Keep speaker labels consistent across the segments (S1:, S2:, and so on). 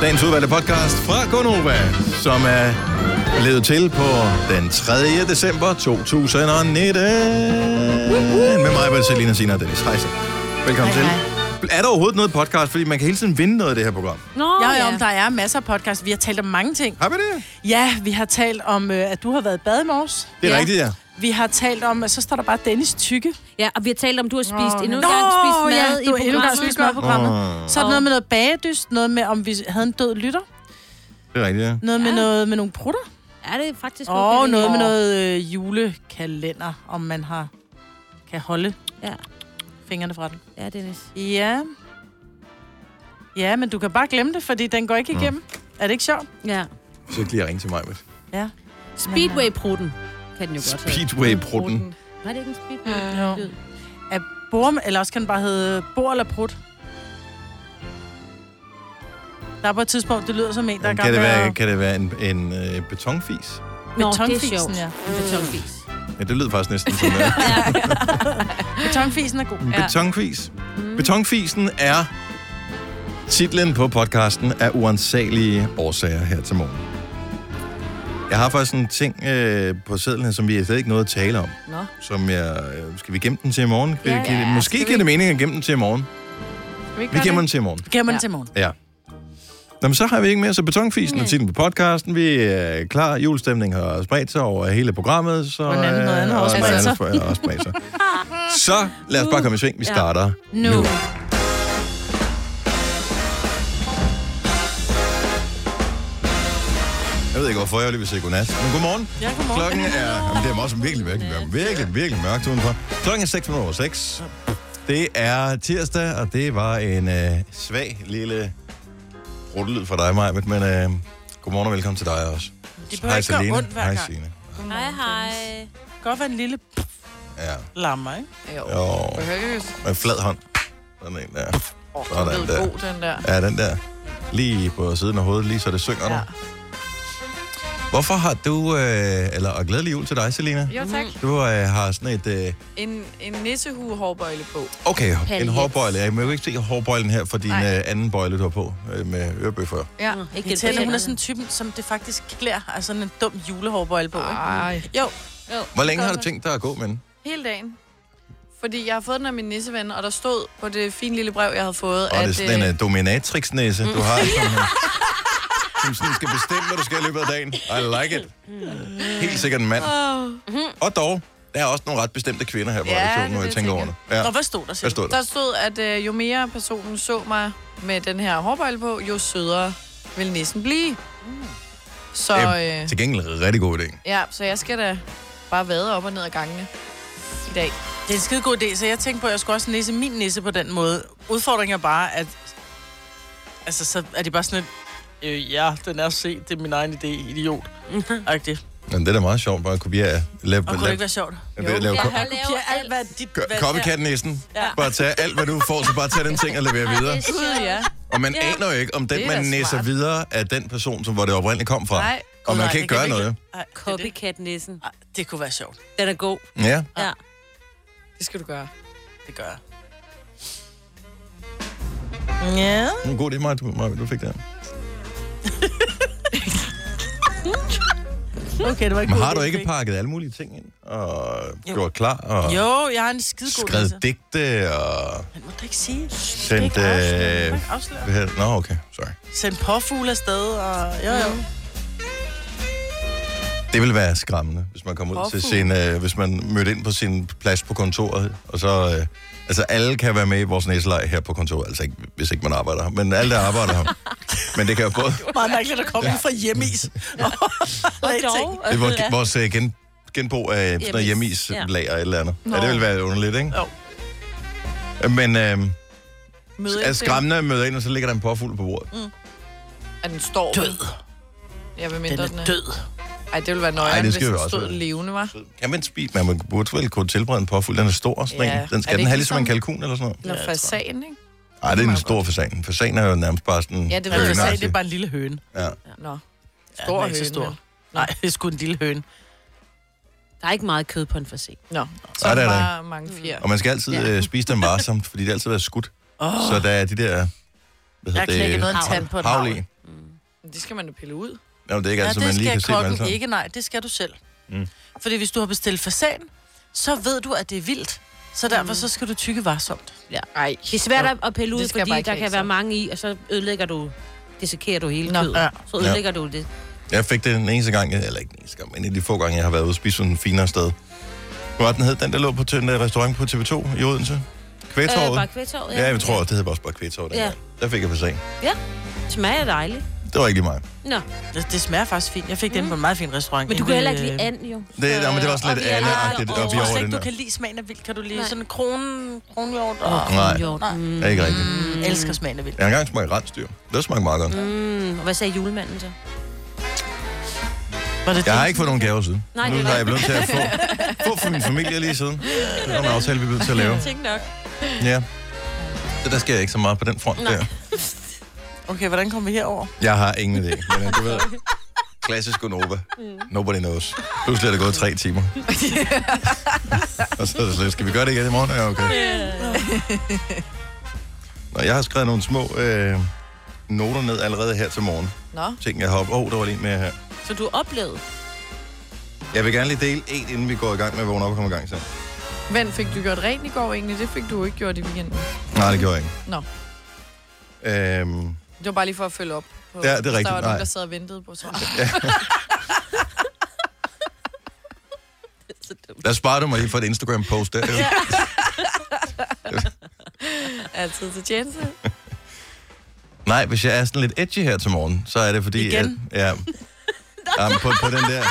S1: dagens udvalgte podcast fra Gonova, som er blevet til på den 3. december 2019. Med mig, Bertelina Sina og Dennis. Hej så. Velkommen
S2: Hej,
S1: til. Er der overhovedet noget podcast? Fordi man kan hele tiden vinde noget af det her program.
S3: Nå,
S2: Jo, jo, men der er masser af podcast. Vi har talt om mange ting.
S1: Har vi det?
S2: Ja, vi har talt om, øh, at du har været i bad i morges.
S1: Det er
S3: Ja.
S1: rigtigt, ja.
S2: Vi har talt om, at så står der bare Dennis Tykke.
S3: Ja, og vi har talt om, du har spist
S2: Nå,
S3: endnu en gang spist
S2: ja,
S3: mad i
S2: du har endnu en gang
S3: programmet.
S2: spist mad i programmet.
S1: Åh,
S2: Så er der noget med noget bagedyst, noget med, om vi havde en død lytter,
S1: det er rigtigt, ja.
S2: noget med,
S3: Ja.
S2: noget med nogle prutter,
S3: Er det faktisk
S2: og
S3: okay?
S2: noget med
S3: Åh.
S2: noget øh, julekalender, om man har kan holde
S3: Ja.
S2: fingrene fra den.
S3: Ja, Dennis.
S2: Ja. Ja, men du kan bare glemme det, fordi den går ikke igennem. Er det ikke sjovt?
S3: Ja.
S1: Så kan jeg lige ringe til mig. Med.
S2: Ja.
S3: Speedway-pruten kan den jo godt hedde.
S1: Speedway-prutten.
S3: Var det ikke en speedway?
S2: Jo. Er bor, eller også kan den bare hedde bor eller prut. Der er på et tidspunkt, det lyder som en, der er i
S1: Kan
S2: gang
S1: det
S2: med
S1: være,
S2: at...
S1: kan det være en, en øh, betonfis?
S3: Nå, det er
S2: Betonfisen,
S3: sjovt.
S2: ja.
S3: En Betonfis.
S1: Ja, det lyder faktisk næsten sådan noget.
S2: Betonfisen er god.
S1: En Betonfis.
S3: Mm.
S1: Betonfisen er titlen på podcasten af uansagelige årsager her til morgen. Jeg har faktisk en ting øh, på sædlen her, som vi slet ikke nåede at tale om.
S3: Nå.
S1: Som jeg, øh, skal vi gemme den til i morgen?
S3: Ja,
S1: Kan- kan-
S3: ja,
S1: Måske
S3: skal vi-
S1: giver det mening at gemme den til i morgen. Vi gemmer den
S3: det?
S1: til i morgen.
S2: Gemmer den
S3: Ja.
S2: til morgen.
S1: Ja. Nå, men så har vi ikke mere, så betonfisen er
S3: Nej.
S1: titlen på podcasten. Vi er klar. Julestemningen har spredt sig over hele programmet. Så,
S2: Og noget andet- noget andet har
S1: øh,
S2: også
S1: og noget
S2: spredt
S1: andet har også spredt sig. Så lad os bare komme i sving. Vi
S3: Ja.
S1: starter
S2: Nu.
S1: nu. Jeg ved ikke, hvorfor jeg lige vil sige godnat. Men godmorgen.
S2: Ja, godmorgen.
S1: Klokken er... Jamen, det er også virkelig, virkelig, virkelig, virkelig, virkelig mørkt udenfor. Klokken er 6 over 6. Det er tirsdag, og det var en øh, svag lille ruttelyd for dig, Maja. Men øh, godmorgen og velkommen til dig også.
S2: Det behøver ikke gøre ondt hver
S1: Hej,
S2: gang.
S1: Signe.
S3: Hej, hej.
S2: Det kan godt være en lille
S1: Ja.
S2: lammer, ikke?
S4: Jo.
S1: Jo.
S4: Behøves.
S1: Med en flad hånd. Sådan en der.
S4: Oh,
S1: Sådan
S4: den
S1: der.
S4: er god, den der.
S1: Ja, den der. Lige på siden af hovedet, lige så det synger ja.
S4: Ja.
S1: nu. Hvorfor har du... Øh, eller, og glædelig jul til dig, Selina.
S4: Jo, tak.
S1: Du øh, har sådan et... Øh,
S4: Mm. En, en nissehue hårbøjle på.
S1: okay,
S3: Paljet.
S1: en hårbøjle. Jeg må jo ikke se hårbøjlen her for din
S4: Nej.
S1: øh, anden bøjle, du har på øh, med ørebøffer.
S4: Ja.
S3: Nå, ikke
S2: Min
S3: det.
S2: tænder, hun er sådan en type, som det faktisk klæder. Altså sådan en dum julehårbøjle på, ikke?
S4: Ej.
S2: Jo,
S1: Hvor længe har du
S4: Godt.
S1: tænkt dig at gå med den?
S4: Hele dagen. Fordi jeg har fået den af min nisseven, og der stod på det fine lille brev, jeg havde fået,
S1: Og det er
S4: at...
S1: sådan en
S4: øh,
S1: øh, dominatrixnæse, du har. Som, øh, som sådan skal bestemme, hvad du skal i løbet af dagen. I like it. Helt sikkert en
S4: øh,
S1: mand. Og dog, der er også nogle ret bestemte kvinder her på
S4: Ja,
S1: redaktionen,
S4: det er
S1: når jeg
S4: det,
S1: tænker
S4: jeg
S1: over det. Ja.
S2: og hvad stod der, siger
S1: Ah. Hvad stod der?
S4: Der stod, at øh, jo mere personen så mig med den her hårbøjle på, jo sødere vil nissen blive.
S1: Mm.
S4: Så, øh,
S1: Til gengæld rigtig god idé.
S4: ja, så jeg skal da bare vade op og ned ad gangene i dag.
S2: Det er en skide god idé, så jeg tænkte på, at jeg skulle også nisse min nisse på den måde. Udfordringen er bare, at... Altså, så er det bare sådan et... Øh, ja, den er set. Det er min egen idé, idiot.
S3: Mhm.
S2: Agtigt.
S1: Men det er da meget sjovt, bare at kopiere. Lav,
S2: Og kunne det ikke være sjovt?
S1: lave, lave,
S3: Jeg har
S2: Kopier
S3: lavet
S2: alt, hvad dit...
S1: Gør-
S2: hvad-
S1: Copycat-næsten.
S2: Ja.
S1: Bare tage alt, hvad du får, så bare tage den ting og levere videre.
S4: Gud, ja.
S1: Og man aner jo ikke, om
S4: Det
S1: den,
S4: er
S1: man
S4: da
S1: næser
S4: smart.
S1: videre, er den person, som hvor det oprindeligt kom fra.
S4: Nej.
S1: Og man
S2: Nej,
S1: kan ikke gøre
S2: vi
S1: noget.
S2: Ej, det er det.
S3: Copycat-nissen.
S2: Ej, det kunne være sjovt.
S3: Den er god.
S1: Ja.
S3: Ja.
S4: Det skal du gøre.
S2: Det gør jeg. Ja.
S1: En god idé, Maja, du, Maja, du fik det.
S2: Okay, det var ikke
S1: Men
S2: god
S1: har du
S2: idé,
S1: ikke
S2: ikke?
S1: pakket alle mulige ting ind? Og
S2: Jo.
S1: gjort klar? Og
S2: Jo, jeg har en skide god nisse.
S1: skrevet digte? Og
S2: Men må du ikke sige.
S1: sendt...
S2: Det er ikke afsløret.
S1: øh,
S2: Du må ikke afsløre.
S1: hvad hedder det? Nå, okay. Sorry.
S2: Send påfugle afsted, og jo, jo.
S1: Det ville være skræmmende, hvis man kom ud til sin, øh, hvis man mødte ind på sin plads på kontoret, og så, øh, altså alle kan være med i vores næselej her på kontoret, altså ikke, hvis ikke man arbejder her, men alle der arbejder her. Men det kan jo både,
S2: Meget mærkeligt at komme ja. fra hjemmeis. Og, og dog.
S1: det er vores, vores øh, gen, genbrug af sådan noget
S3: Hjemmeis, ja.
S1: hjemmislager eller et eller andet. Ja,
S4: Nå.
S1: det ville være underligt, ikke?
S2: Jo.
S1: Men øh,
S4: Møde
S1: er
S4: ind til-
S1: skræmmende at møde ind, og så ligger der en påfugl på bordet. Mm.
S4: at den står
S2: Død.
S4: Ja, hvad
S2: Den
S4: mindre den
S2: er
S4: er.
S2: død.
S4: Ej, det ville være
S1: Ej,
S4: nøjeren,
S1: det
S4: hvis
S1: skal jo
S4: den
S1: også
S4: stod
S1: være.
S4: levende, var.
S1: Kan man spise, men man burde vel kunne tilberede en påfugl, den er stor, sådan
S4: Ja.
S1: ja. den
S4: Er det
S1: skal den
S4: ikke
S1: have ligesom en
S4: ligesom-
S1: kalkun eller sådan noget.
S4: Eller
S2: Ja, jeg tror.
S4: fasan, ikke?
S1: Nej, det er en stor fasan. Fasan er jo nærmest bare sådan...
S4: Ja, det ved
S2: Altså, Jeg vil
S4: jeg
S2: sige,
S1: høneagtig.
S2: det er bare en lille høne.
S1: Ja.
S4: Nå.
S2: Ja,
S4: Stor
S2: den er
S4: ja,
S2: ikke
S4: høne.
S2: så stor. Nej, det er sgu en lille høne.
S3: Der er ikke meget kød på en forsen.
S4: Nå, så
S1: Nej,
S4: er
S1: det
S4: der
S1: er der
S4: bare mange fjer.
S1: Og man skal altid
S3: Ja.
S1: ja. øh, spise dem varsomt, fordi det altid er skudt.
S2: Åh,
S1: Så der er de der... Hvad
S2: jeg knækkede noget af en tand på et
S1: havl
S2: navl.
S1: i.
S3: Mm.
S4: Det skal man jo pille ud.
S1: Nå, det er ikke
S2: Ja,
S1: altid,
S2: det
S1: Altså, man lige
S2: skal
S1: kan se dem alle
S2: kokken
S1: sammen.
S2: ikke, nej, det skal du selv.
S1: Mm.
S2: Fordi hvis du har bestilt fasan, så ved du, at det er vildt. Så derfor
S3: Mm.
S2: så skal du tykke varsomt.
S4: Nej.
S3: Det er svært at- at pille ud,
S4: Det skal jeg
S3: fordi
S4: bare
S3: der
S4: ikke have,
S3: kan
S4: så.
S3: være mange i, og så ødelægger du, dissekerer du hele
S4: Nå,
S3: kødet.
S2: ja.
S3: Så ødelægger du det.
S1: Jeg fik det den eneste gang, jeg- eller ikke den eneste gang, men en af de få gange, jeg har været ude og spise sådan en finere sted. Hvor var den hed, den der lå på den der restaurant på TV2 i Odense? Kvægtorvet?
S3: Øh, bare kvægtorvet,
S1: ja. jeg tror, det hed også bare Kvægtorvet
S3: Ja.
S1: dengang. Der fik jeg fasan.
S3: Smager dejligt.
S1: Det var ikke lige mig.
S3: Nå,
S2: Det, det smager faktisk fint. Jeg fik mm. den på en meget fin restaurant.
S3: men du
S2: inde
S3: kan
S2: i,
S3: heller ikke lide
S2: øh,
S3: and, jo.
S1: Det, ja, men det var også
S3: og
S1: lidt
S3: vi er-
S1: andet-agtigt, og
S3: Ej,
S1: vi
S2: Jeg
S1: er
S2: tror
S1: over
S2: slet
S1: den
S2: ikke,
S1: der.
S2: du kan lide smagen af vildt. Kan du lide
S3: Nej.
S2: sådan en kronen, kronhjort? Og...
S3: Åh,
S1: Nej.
S3: kronhjort.
S2: Nej.
S3: Mm.
S1: Det er ikke rigtigt.
S2: Mm. Jeg elsker smagen af vildt.
S1: Jeg har engang smagt rensdyr. Det smagte meget godt.
S3: Mm, og hvad sagde julemanden så?
S2: Var det
S1: Jeg har
S2: det?
S1: ikke fået nogen gaver siden.
S3: Nej,
S1: nu
S3: det er
S1: har jeg
S3: rigtigt.
S1: blevet til at få, få fra min familie lige siden. Det var en aftale, vi blev til at lave.
S3: Tænk nok.
S1: Ja. Så der sker ikke så meget på den front der.
S2: Okay, hvordan kom vi herover?
S1: Jeg har ingen idé, men øh, du ved, klassisk Nova. Nobody knows. Pludselig er det gået tre timer. og så er det slet, skal vi gøre det igen i morgen? Ja, okay. Nå, jeg har skrevet nogle små øh, noter ned allerede her til morgen.
S4: Nå.
S1: Ting, jeg har op. Åh, oh, der var lige en mere her.
S3: Så du oplevede?
S1: Jeg vil gerne lige dele en, inden vi går i gang med at vågne op og komme i gang så.
S4: Vend, fik du gjort rent i går egentlig? Det fik du jo ikke gjort i weekenden.
S1: Nej, det gjorde jeg ikke.
S4: Nå.
S1: Øhm,
S4: Det var bare lige for at følge op. På,
S1: Ja, det er
S4: hvis
S1: rigtigt.
S4: Der var
S1: Nej.
S4: nogen, der sad og ventede på svar.
S3: Så dumt.
S1: der sparer du mig lige for et Instagram-post der. Ja.
S4: Altid til tjeneste.
S1: Nej, hvis jeg er sådan lidt edgy her til morgen, så er det fordi...
S2: Igen?
S1: At, ja. Jamen, på, på den der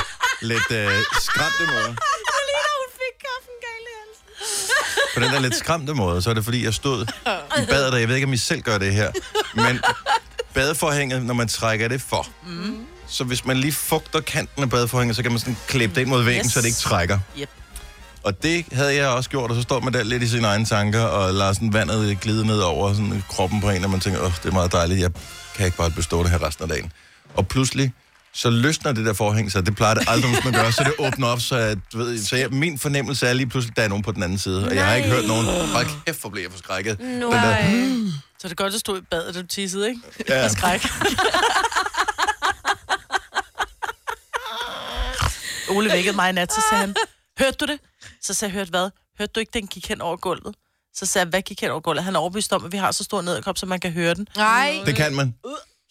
S1: lidt øh, skræmte måde.
S3: Du ligner, hun fik kaffen galt i halsen.
S1: På den der lidt skræmte måde, så er det fordi, jeg stod i badet, og jeg ved ikke, om I selv gør det her, men badeforhænget, når man trækker det for, mm. så hvis man lige fugter kanten af badeforhænget, så kan man sådan klippe det ind mod væggen, yes.
S2: Yes.
S1: så det ikke trækker.
S2: Yep.
S1: Og det havde jeg også gjort, og så står man der lidt i sine egne tanker, og lader sådan vandet glide ned over sådan kroppen på en, og man tænker, åh, det er meget dejligt, jeg kan ikke bare bestå det her resten af dagen. Og pludselig, så løsner det der forhæng sig, det plejer det aldrig, hvis man gør, så det åbner op, så, jeg, du ved, så jeg, min fornemmelse er lige pludselig, der er nogen på den anden side, og jeg har ikke hørt nogen, hold kæft, hvor blev jeg forskrækket. No. Den der,
S2: Så det er godt, at du stod i badet, og du tissede, ikke?
S1: ja,
S2: Skræk. Ole vækkede mig i nat, så sagde han, hørte du det? Så sagde jeg, hørte hvad? Hørte du ikke, den gik hen over gulvet? Så sagde jeg, hvad gik hen over gulvet? Han er overbevist om, at vi har så stor nederkop, så man kan høre den.
S4: Nej.
S1: det kan man.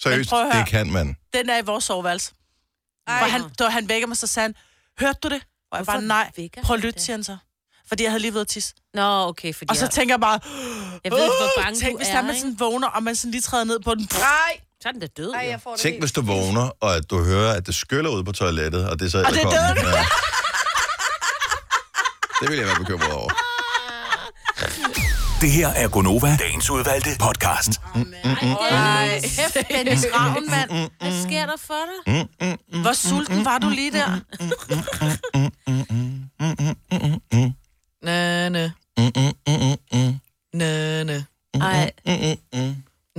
S1: Seriøst,
S2: prøv at høre.
S1: det kan man.
S2: Den er i vores soveværelse. Hvor han, da han vækker mig, så sagde han, hørte du det? Og jeg
S3: Hvorfor
S2: bare, nej,
S3: vækker
S2: prøv at
S3: han
S2: lytte,
S3: det?
S2: siger han så. Fordi jeg havde lige været at tisse.
S3: Nå, okay, fordi
S2: Og så
S3: jeg-
S2: tænker jeg bare,
S3: jeg ved ikke, hvor bange
S2: tænk,
S3: du
S2: hvis
S3: er,
S2: der man
S3: ikke?
S2: sådan vågner, og man sådan lige træder ned på den.
S4: Nej.
S3: Så er den da død,
S4: Nej,
S3: jo.
S4: jeg får det
S1: Tænk,
S4: helt.
S1: hvis du vågner, og at du hører, at det skyller ud på toilettet, og det er så
S2: det er
S1: edderkoppen. Ja. Det vil jeg være bekymret over.
S5: Det her er Gonova, dagens udvalgte podcast.
S3: Ej, kæft, Dennis Ravn, mand. Hvad sker der for dig?
S2: Hvor sulten var du lige der?
S4: Næ, næ.
S1: Mm,
S4: Næ, næ.
S3: Ej,
S4: Næ.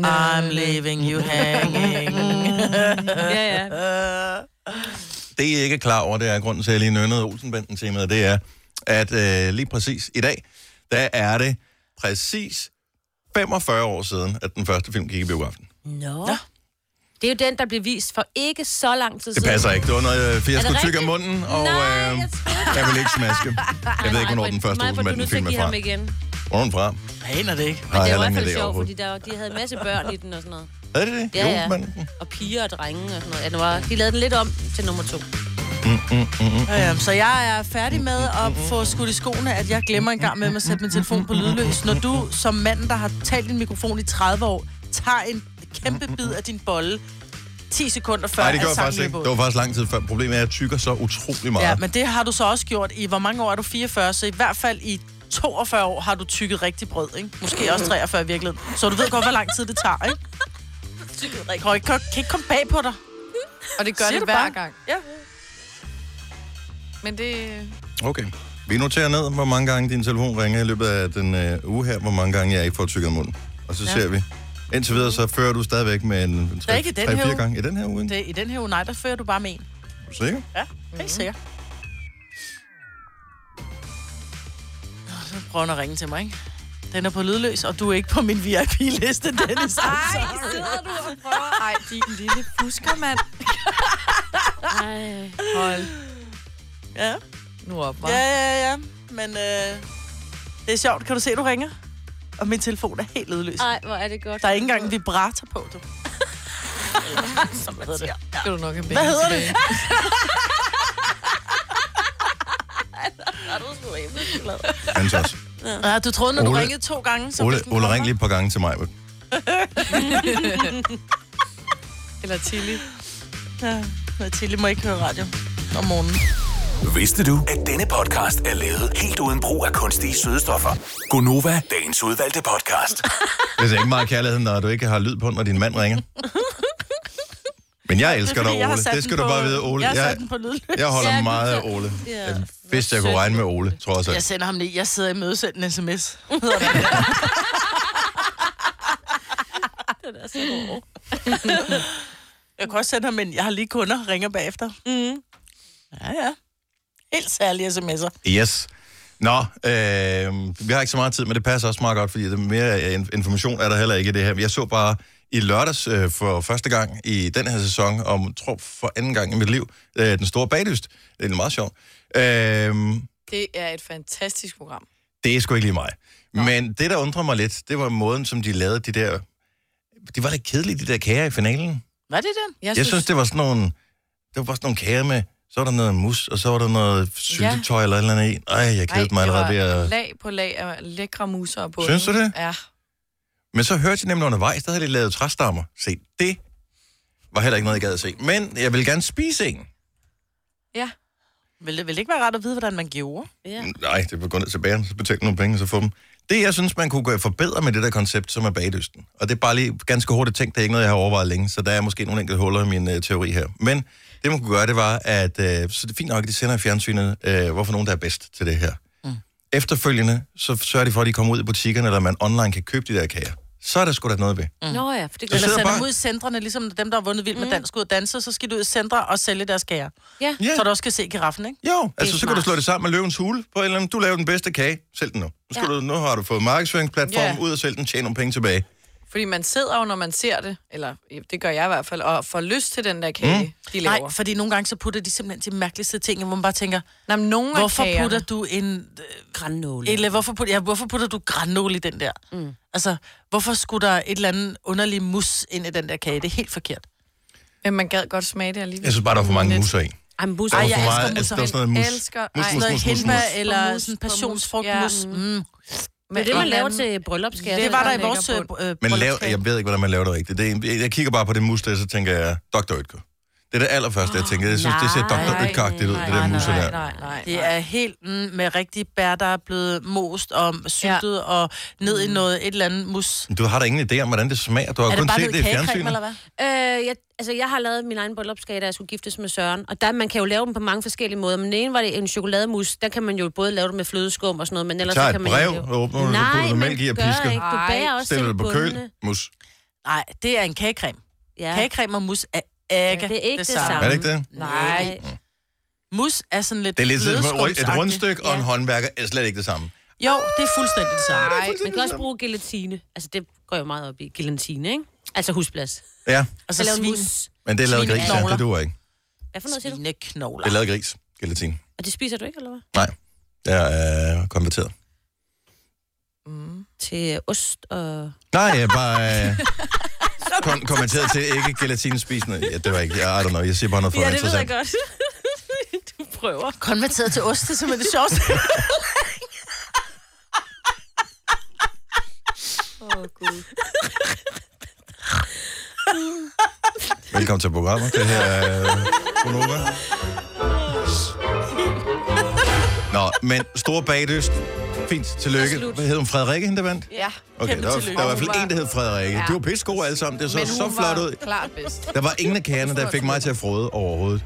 S2: I'm leaving you hanging.
S3: ja, ja.
S1: Det, I ikke er klar over, det er grunden til, at jeg lige nønnede Olsenbanden temaet, det er, at øh, lige præcis i dag, der er det præcis 45 år siden, at den første film gik i biografen.
S3: Nå. Det er jo den, der blev vist for ikke så lang tid
S1: Det
S3: siden.
S1: passer ikke. Det var noget øh, fiasko tyk af
S3: rigtigt?
S1: munden, og
S3: Nej,
S1: øh,
S3: jeg troede-
S1: jeg vil ikke smaske. Jeg ved ikke, hvornår den første
S3: Olsenmanden
S1: Olsenbanden-film er fra.
S3: Ham igen. Men
S1: Hvor er den fra?
S2: Aner det ikke.
S1: Har jeg
S3: det var i
S1: heller
S3: hvert
S1: ingen
S3: fald
S1: idé
S3: sjovt, fordi
S1: overhovedet.
S3: der, de havde en masse børn i den og sådan noget.
S1: Er det det?
S3: Ja, ja.
S1: Olsenbanden?
S3: Og piger og drenge og sådan noget. Ja, den var, de lavede den lidt om til nummer to.
S2: Øhm, så jeg er færdig med at få skudt i skoene, at jeg glemmer en gang med at sætte min telefon på lydløs. Når du som mand, der har talt din mikrofon i 30 år, tager en kæmpe bid af din bolle 10 sekunder før,
S1: Nej, det
S2: at
S1: gjorde jeg
S2: sangen
S1: faktisk ikke.
S2: løber ud.
S1: Det var faktisk lang tid før. Problemet er, at jeg tykker så utrolig meget.
S2: Ja, men det har du så også gjort i, hvor mange år er du? 44, så i hvert fald i 42 år har du tykket rigtig brød, ikke? Måske også 43 i virkeligheden. Så du ved godt, hvor lang tid det tager, ikke? Tykket rigtig. Kan, kan, kan ikke komme bag på dig.
S4: Og det gør
S2: Siger
S4: det
S2: du
S4: hver
S2: bare?
S4: gang.
S2: Ja.
S4: Men det...
S1: Okay. Vi noterer ned, hvor mange gange din telefon ringer i løbet af den øh, uge her, hvor mange gange jeg ikke får tykket munden. Og så ja. ser vi. Indtil videre, så fører du stadigvæk med en, en
S2: ikke i den her
S1: 3-4
S2: uge.
S1: gange. I den her uge, ikke?
S2: Det, I den her uge, nej, der fører du bare med en.
S1: Er du sikker?
S2: Ja, helt mm-hmm. sikkert. Nå, så prøver hun at ringe til mig, ikke? Den er på lydløs, og du er ikke på min VIP-liste, Dennis.
S4: Ej, sidder du og prøver? Ej, din lille fusker, mand.
S3: Ej.
S4: Hold
S2: Ja,
S4: nu op, hva'?
S2: ja, ja, ja. Men øh, det er sjovt. Kan du se, du ringer? Og min telefon er helt lydløs.
S3: Ej, hvor er det godt.
S2: Der er ikke engang en vibrator på, du. Som hedder det.
S4: Skal du nok have
S2: Hvad hedder
S4: det?
S1: Hans også.
S2: Ja, du troede, når du
S1: Ole-
S2: ringede to gange, så
S1: Ole,
S2: vidste den
S1: Ole
S2: kommer.
S1: ring lige et par gange til mig.
S4: Eller Tilly.
S2: Ja, men Tilly må ikke høre radio om morgenen.
S5: Vidste du, at denne podcast er lavet helt uden brug af kunstige sødestoffer? Gonova, dagens udvalgte podcast.
S1: Hvis ikke meget kærlighed, når du ikke har lyd på, når din mand ringer. Men jeg elsker dig,
S2: fordi, jeg har
S1: Ole.
S2: sat
S1: Det skal
S2: den
S1: du
S2: på-
S1: bare vide, Ole.
S2: Jeg har
S1: Jeg,
S2: sat den på lydløs.
S1: jeg
S3: Ja,
S1: holder
S3: du
S1: meget af
S3: kan-
S1: Ole.
S3: Ja.
S1: Jeg vidste, jeg kunne regne med Ole, tror jeg så.
S2: Jeg sender ham lige. Jeg sidder i møde send en sms.
S3: Den er så hård.
S2: Jeg kan også sende ham en. Jeg har lige kunder, ringer bagefter. Mm. Ja, ja. Helt særlige sms'er.
S1: Yes. Nå, øh, vi har ikke så meget tid, men det passer også meget godt, fordi det mere øh, inf- information er der heller ikke i det her. Jeg så bare i lørdags øh, for første gang i den her sæson, og tror for anden gang i mit liv, øh, Den Store Bagdyst. Det er meget sjovt. Øh,
S4: Det er et fantastisk program.
S1: det er sgu ikke lige mig. Men det, der undrer mig lidt, det var måden, som de lavede de der... De var lidt kedelige, de der kager i finalen.
S2: Var det den?
S1: Jeg synes, det var sådan nogle, det var bare sådan nogle kager med, så var der noget mus, og så var der noget syltetøj eller et eller andet i. Ej, jeg kedede mig allerede ved at...
S4: lag på lag af lækre muser på.
S1: Synes du det?
S4: Ja.
S1: Men så hørte jeg nemlig undervejs, der havde de lavet træstammer. Se, det var heller ikke noget, jeg gad at se. Men jeg ville gerne spise en.
S4: Ja.
S2: Vil det, vil det ikke være rart at vide, hvordan man gjorde?
S3: Ja.
S1: Nej, det var gå ned til bageren, så betale nogle penge, og så få dem. Det, jeg synes, man kunne gøre forbedre med det der koncept, som er bagdysten. Og det er bare lige ganske hurtigt tænkt, det er ikke noget, jeg har overvejet længe, så der er måske nogle enkelte huller i min øh, teori her. Men det, man kunne gøre, det var, at øh, så det er fint nok, at de sender i fjernsynet, øh, hvorfor nogen, der er bedst til det her. Mm. Efterfølgende, så sørger de for, at de kommer ud i butikkerne, eller man online kan købe de der kager. Så er der sgu da noget ved.
S3: Mm. Nå ja, for det
S1: Så
S3: gør
S2: Eller
S1: sidder
S2: sende
S1: bare-
S2: dem ud i centrene, ligesom dem, der har vundet
S4: Mm.
S2: vildt med dansk ud og danse, så skal du ud i centre og sælge deres kager.
S3: Ja.
S1: Ja.
S2: Så du også kan se giraffen, ikke?
S1: Jo, altså så kan du
S3: smart.
S1: slå det sammen med løvens hule på en eller anden. Du laver den bedste kage, sælg den nu. Nu, skal
S3: Ja.
S1: du, nu har du fået markedsføringsplatformen
S2: Ja.
S1: ud og sælg den, tjene nogle penge tilbage.
S4: Fordi man sidder jo, når man ser det, eller ja, det gør jeg i hvert fald, og får lyst til den der kage, mm. de laver.
S2: Nej, fordi nogle gange så putter de simpelthen de mærkeligste ting, hvor man bare tænker,
S4: Nej, men nogle
S2: hvorfor
S4: af kagerne,
S2: putter du en øh,
S3: Grannåle.
S2: Eller hvorfor putter, ja, hvorfor putter du granol i den der? Mm. Altså, hvorfor skulle der et eller andet underlig mus ind i den der kage? Det er helt forkert.
S4: men man gad godt smage det alligevel.
S1: Jeg synes bare, der er for mange
S4: Lidt.
S1: musser i.
S3: Ej, men busser.
S1: Der
S2: Ej,
S1: var
S2: jeg elsker
S1: for meget,
S2: musser.
S1: altså, der var sådan noget mus.
S4: Elsker-
S1: Mus,
S4: Ej,
S1: mus,
S2: Noget
S1: mus, mus,
S2: henbær
S1: mus.
S2: eller
S4: Mus,
S2: sådan
S4: mus,
S2: passionsfrugtmus.
S4: ja.
S2: Mm.
S3: Det er det, man
S4: Men-
S3: laver til bryllup, skal jeg
S2: Det var der i
S4: lækker
S2: vores øh,
S4: bund.
S2: br- øh,
S1: Men lav,
S2: bryllupskage.
S1: jeg ved ikke, hvordan man laver det rigtigt. Det er, jeg kigger bare på det mus der, så tænker jeg, Dr. Ytker. Det er det allerførste, jeg tænker. Jeg synes, det ser Dr.
S4: Nej,
S1: Ytker-agtigt ud,
S3: nej,
S1: det der
S4: nej,
S1: mus
S4: nej,
S1: der.
S4: nej, nej,
S2: Det
S4: nej.
S2: er helt mm, med rigtig bær, der er blevet most og syltet ja. og ned i noget, et eller andet mus.
S1: Du har da ingen idé om, hvordan det smager. Du har
S2: Er det
S1: kun
S2: bare
S1: set
S2: noget
S1: det i
S2: kagecreme,
S1: fjernsynet.
S2: eller hvad?
S3: Øh, jeg, altså, jeg har lavet min egen bryllupsgave, da jeg skulle giftes med Søren. Og der, man kan jo lave dem på mange forskellige måder. Men den ene var det en chokolademus. Der kan man jo både lave det med flødeskum og sådan noget, men ellers
S1: tager
S3: så
S1: et
S3: kan man...
S1: brev
S3: ikke lave-
S1: og åbner det, så
S3: Nej,
S1: putter du
S3: man
S1: mælk i og
S3: gør
S1: pisker.
S3: ikke. Du
S4: Ej.
S3: bager også
S1: Stiller
S3: selv
S1: det på køl,
S3: bundene.
S1: mus.
S2: Nej, det er en kagecreme.
S3: Ja.
S2: Ja. Kagecreme og mus er ikke,
S3: Ja, det er ikke det
S1: Er
S3: samme.
S1: det ikke det?
S2: Nej. Mus er sådan lidt
S1: Det er lidt som et- et
S2: flødeskumsagtigt.
S1: rundstykke, og en
S3: Ja.
S1: håndværker er slet ikke det samme.
S2: Jo, det er fuldstændig det samme.
S4: Nej,
S3: Man kan også bruge gelatine. Altså, det går jo meget op i. Gelatine, ikke? Altså husplads.
S1: Ja,
S2: Og så
S3: Så lave en
S2: svin,
S3: mus.
S1: men det er lavet gris, ja.
S2: Svineknogler.
S1: Det duer ikke.
S3: Hvad for noget siger du?
S1: Det er
S2: svineknogler.
S1: lavet gris, gelatin.
S3: Og det spiser du ikke, eller hvad?
S1: Nej, jeg er konverteret.
S3: Til ost og...
S1: Nej, jeg er bare øh, kon- konverteret til ikke gelatinspisende. Ja, det var ikke, jeg, I don't know, jeg siger bare noget for ja, interessant.
S3: godt. du prøver.
S2: Konverteret til ost, det er simpelthen det sjoveste.
S3: Åh, oh, Gud.
S1: Velkommen til programmet. Det her er øh, Konoba. Nå, men store bagdyst. Fint, tillykke.
S3: Absolut.
S1: Hvad hed hun? Frederikke, hende der vandt?
S4: Ja,
S1: Okay,
S2: Kæmpe
S1: der var, der
S2: tillykke.
S1: var i hvert fald en, der hed Frederikke. Ja.
S4: Ja.
S1: De var pissegode alle sammen. Det så
S4: men
S1: så
S4: hun
S1: flot
S4: var
S1: ud.
S4: klart bedst.
S1: Der var ingen af kagerne, der fik mig til at frode overhovedet.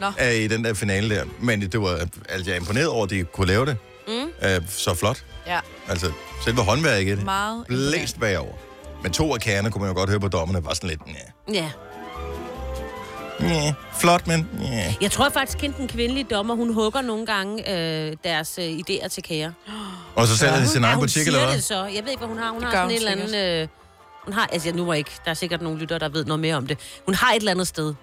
S4: Nå.
S1: Nå. I den der finale der. Men det var, altså, jeg er imponeret over, at de kunne lave det. Mm. Øh, så flot.
S4: Ja,
S1: Altså, selve håndværket. i det.
S4: Meget
S1: Blæst bagover. Men to af kagerne, kunne man jo godt høre på dommerne, var sådan lidt, ja.
S3: Ja.
S1: Næh. Flot, men... Næh.
S3: Jeg tror faktisk, kendt den kvindelige dommer, hun hugger nogle gange øh, deres øh, idéer til kager.
S1: Og så sælger de sin egen
S3: hun
S1: butik,
S3: siger
S1: eller hvad?
S3: det så. Jeg ved ikke, hvad hun har. Hun har
S4: gør
S3: sådan
S4: hun
S3: et eller andet... Øh, hun har, altså nu må jeg ikke, der er sikkert nogle lyttere, der ved noget mere om det. Hun har et eller andet sted.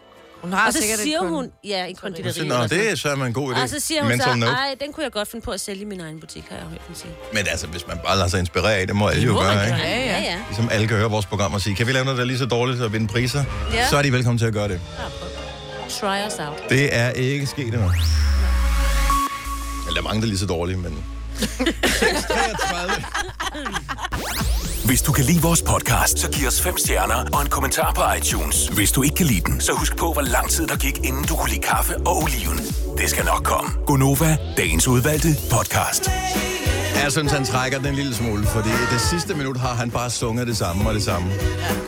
S4: Hun har
S3: Og så
S4: sikkert et
S3: siger
S4: kun-
S3: hun, ja, en
S1: Hun
S3: konditori.
S1: siger, Nå,
S3: eller sådan.
S1: det er så en god idé.
S3: Og så siger hun
S1: Mental
S3: så,
S1: note.
S3: nej, den kunne jeg godt finde på at sælge i min egen butik, har jeg hørt hende sige.
S1: Men altså, hvis man bare lader sig inspirere af, det må alle jo
S3: Må man
S1: gøre,
S3: gerne.
S1: ikke?
S4: ikke?
S3: Ja,
S4: Ja,
S3: ja.
S1: Ligesom alle kan høre vores program og sige, kan vi lave noget, der er lige så dårligt at vinde priser?
S3: Ja.
S1: Så er de velkommen til at gøre det.
S3: Try us out.
S1: Det er ikke sket endnu. Eller der er mange, der er lige så dårlige, men... 6.33.
S5: Hvis du kan lide vores podcast, så giv os fem stjerner og en kommentar på iTunes. Hvis du ikke kan lide den, så husk på, hvor lang tid der gik, inden du kunne lide kaffe og oliven. Det skal nok komme. Gonova, dagens udvalgte podcast.
S1: Jeg synes, han trækker den en lille smule, fordi det sidste minut har han bare sunget det samme og det samme.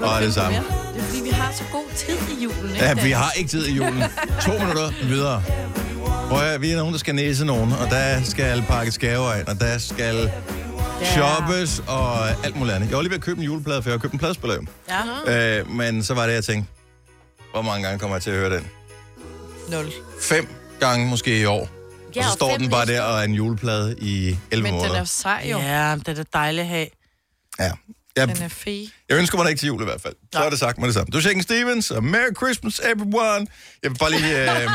S1: og det samme.
S4: Det er fordi, vi har så god tid i julen, ikke?
S1: Ja, vi har ikke tid i julen. To minutter videre. Prøv at, vi er nogen, der skal næse nogen, og der skal pakkes gaver ind, og der skal shoppes og alt muligt andet. Jeg var lige ved at købe en juleplade, for jeg har købt en pladespiller.
S2: Ja.
S1: Øh, men så var det, jeg tænkte, hvor mange gange kommer jeg til at høre den?
S4: Nul.
S1: Fem gange måske i år. Og
S3: Ja,
S1: så
S3: og
S1: står
S3: fem
S1: den bare
S3: næste
S1: der og er en juleplade i 11
S4: Men den er
S1: måneder.
S4: sej jo.
S2: Ja, det er da dejligt at have.
S1: Ja. Jeg,
S4: Den er fed.
S1: Jeg ønsker mig det ikke til jul i hvert fald. Så er det sagt med det samme. Du Shaken Stevens, og Merry Christmas everyone. Jeg vil bare lige... Øh, yeah!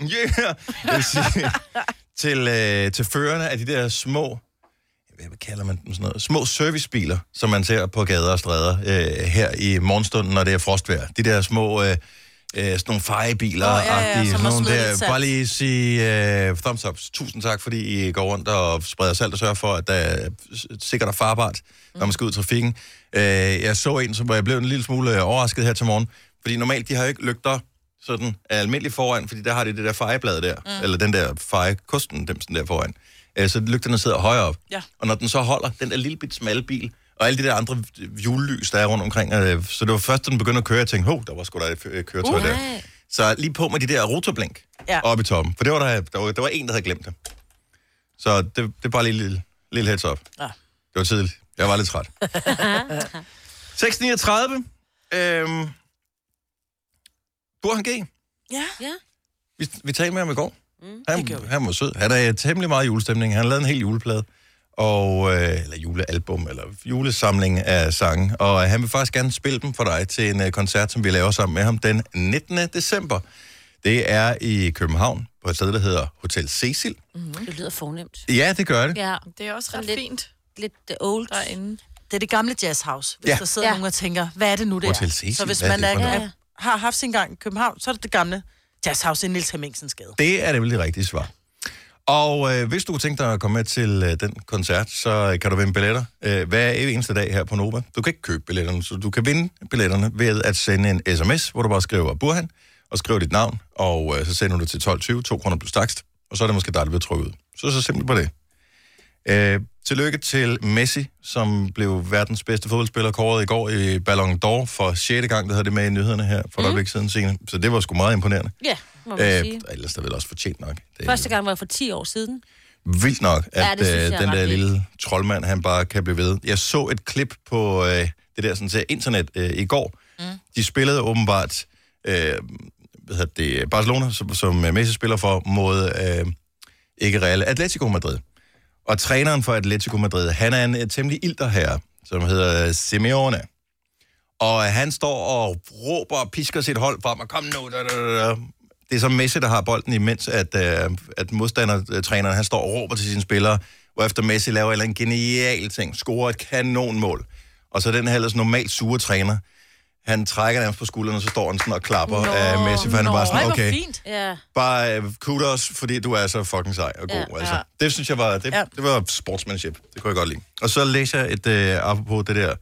S1: Yeah! Jeg vil sige, til, øh, til førerne af de der små... Hvad kalder man dem sådan noget? Små servicebiler, som man ser på gader og stræder øh, her i morgenstunden, når det er frostvejr. De der små... Øh, øh, sådan nogle fejebiler,
S2: Åh, ja, ja,
S1: agtige,
S2: som
S1: sådan
S2: har
S1: nogle
S2: smidt
S1: der.
S2: lidt salt.
S1: Bare lige sige øh, thumbs up. Tusind tak, fordi I går rundt og spreder salt og sørger for, at der er sikkert og farbart, når man skal ud i trafikken. Øh, jeg så en, som hvor jeg blev en lille smule øh, overrasket her til morgen, fordi normalt, de har jo ikke lygter sådan almindeligt foran, fordi der har de det der fejeblad der, mm. eller den der fejekosten, dem sådan der foran. Øh, så lygterne sidder højere op.
S2: Ja.
S1: Og når den så holder, den der lille bit smalle bil, og alle de der andre julelys, der er rundt omkring, øh, så det var først, da den begyndte at køre, jeg tænkte, hov, der var sgu da et øh, køretøj
S2: Uh.
S1: der.
S3: Nej.
S1: Så lige på med de der rotorblink ja.
S2: Ja.
S1: oppe i toppen. For det var der, der, var, der var en, der havde glemt det. Så det, det er bare lige en lille, lille heads up.
S2: Ja.
S1: Det var tidligt. Jeg var lidt træt. 6.39. Øhm, Burhan G.
S2: Ja.
S3: Ja.
S1: Vi, vi talte med ham i går. Mm, han, han var sød. Han er i temmelig meget julestemning. Han lavede en hel juleplade. Og, øh, eller julealbum, eller julesamling af sange. Og øh, han vil faktisk gerne spille dem for dig til en øh, koncert, som vi laver sammen med ham den 19. december. Det er i København, på et sted, der hedder Hotel Cecil.
S3: Det lyder fornemt.
S1: Ja, det gør det.
S3: Ja,
S4: Det er også ret
S3: Lidt.
S4: fint
S3: lidt øh, old.
S4: derinde.
S2: Det er det gamle jazzhouse, hvis
S1: Ja.
S2: ja. der sidder
S3: Ja.
S2: ja. nogen og tænker, hvad er det nu, det
S1: Hotel
S2: er?
S1: Cecil,
S2: Så hvis
S1: hvad er
S2: man
S1: det
S2: er,
S1: for
S3: noget?
S2: er, har haft sin gang i København, så er det det gamle jazzhouse i Niels Hemmingsens gade.
S1: Det er nemlig det rigtige svar. Og øh, hvis du kunne tænke dig at komme med til øh, den koncert, så øh, kan du vinde billetter øh, hver eneste dag her på Nova. Du kan ikke købe billetterne, så du kan vinde billetterne ved at sende en sms, hvor du bare skriver Burhan, og skriver dit navn, og øh, så sender du det til 12.20, 2 kroner plus takst, og så er det måske dig, der bliver trykket ud. Så så simpelt på det. Øh, tillykke til Messi, som blev verdens bedste fodboldspiller kåret i går i Ballon d'Or for 6. gang, det havde det med i nyhederne her for et øjeblik siden. Signe. Så det var sgu meget imponerende.
S3: Ja, må man
S1: Øh,
S3: sige.
S1: ellers er det vel også fortjent nok. Det er
S3: Første gang var for 10 år siden.
S1: vildt nok, at
S3: Ja, det synes
S1: ja,
S3: jeg
S1: øh,
S3: er
S1: den
S3: ret
S1: der
S3: vildt.
S1: lille troldmand, han bare kan blive ved. Jeg så et klip på øh, det der sådan, til internet øh, i går. Mm. De spillede åbenbart øh, hvad hedder det, Barcelona, som, som øh, Messi spiller for, mod øh, ikke Real, Atletico Madrid. Og træneren for Atletico Madrid, han er en øh, temmelig ilter herre, som hedder Simeone. Og øh, han står og råber og pisker sit hold frem, og kom nu, da, da, da, da. Det er så Messi, der har bolden, imens at, øh, at modstandertræneren, han står og råber til sine spillere, efter Messi laver en eller anden genial ting, scorer et kanonmål. Og så den her ellers normalt sure træner, han trækker nærmest på skuldrene, og så står han sådan og klapper
S4: Nå,
S1: af Messi, for han er bare
S2: Ej,
S1: sådan,
S2: hvor
S1: okay,
S2: fint.
S3: Ja.
S1: bare øh, kudos, fordi du er så fucking sej og god. Ja,
S3: Ja.
S1: altså.
S4: Ja.
S1: Det synes jeg var, det, ja.
S2: Ja.
S1: det var sportsmanship. Det kunne jeg godt lide. Og så læser jeg et, øh, apropos det der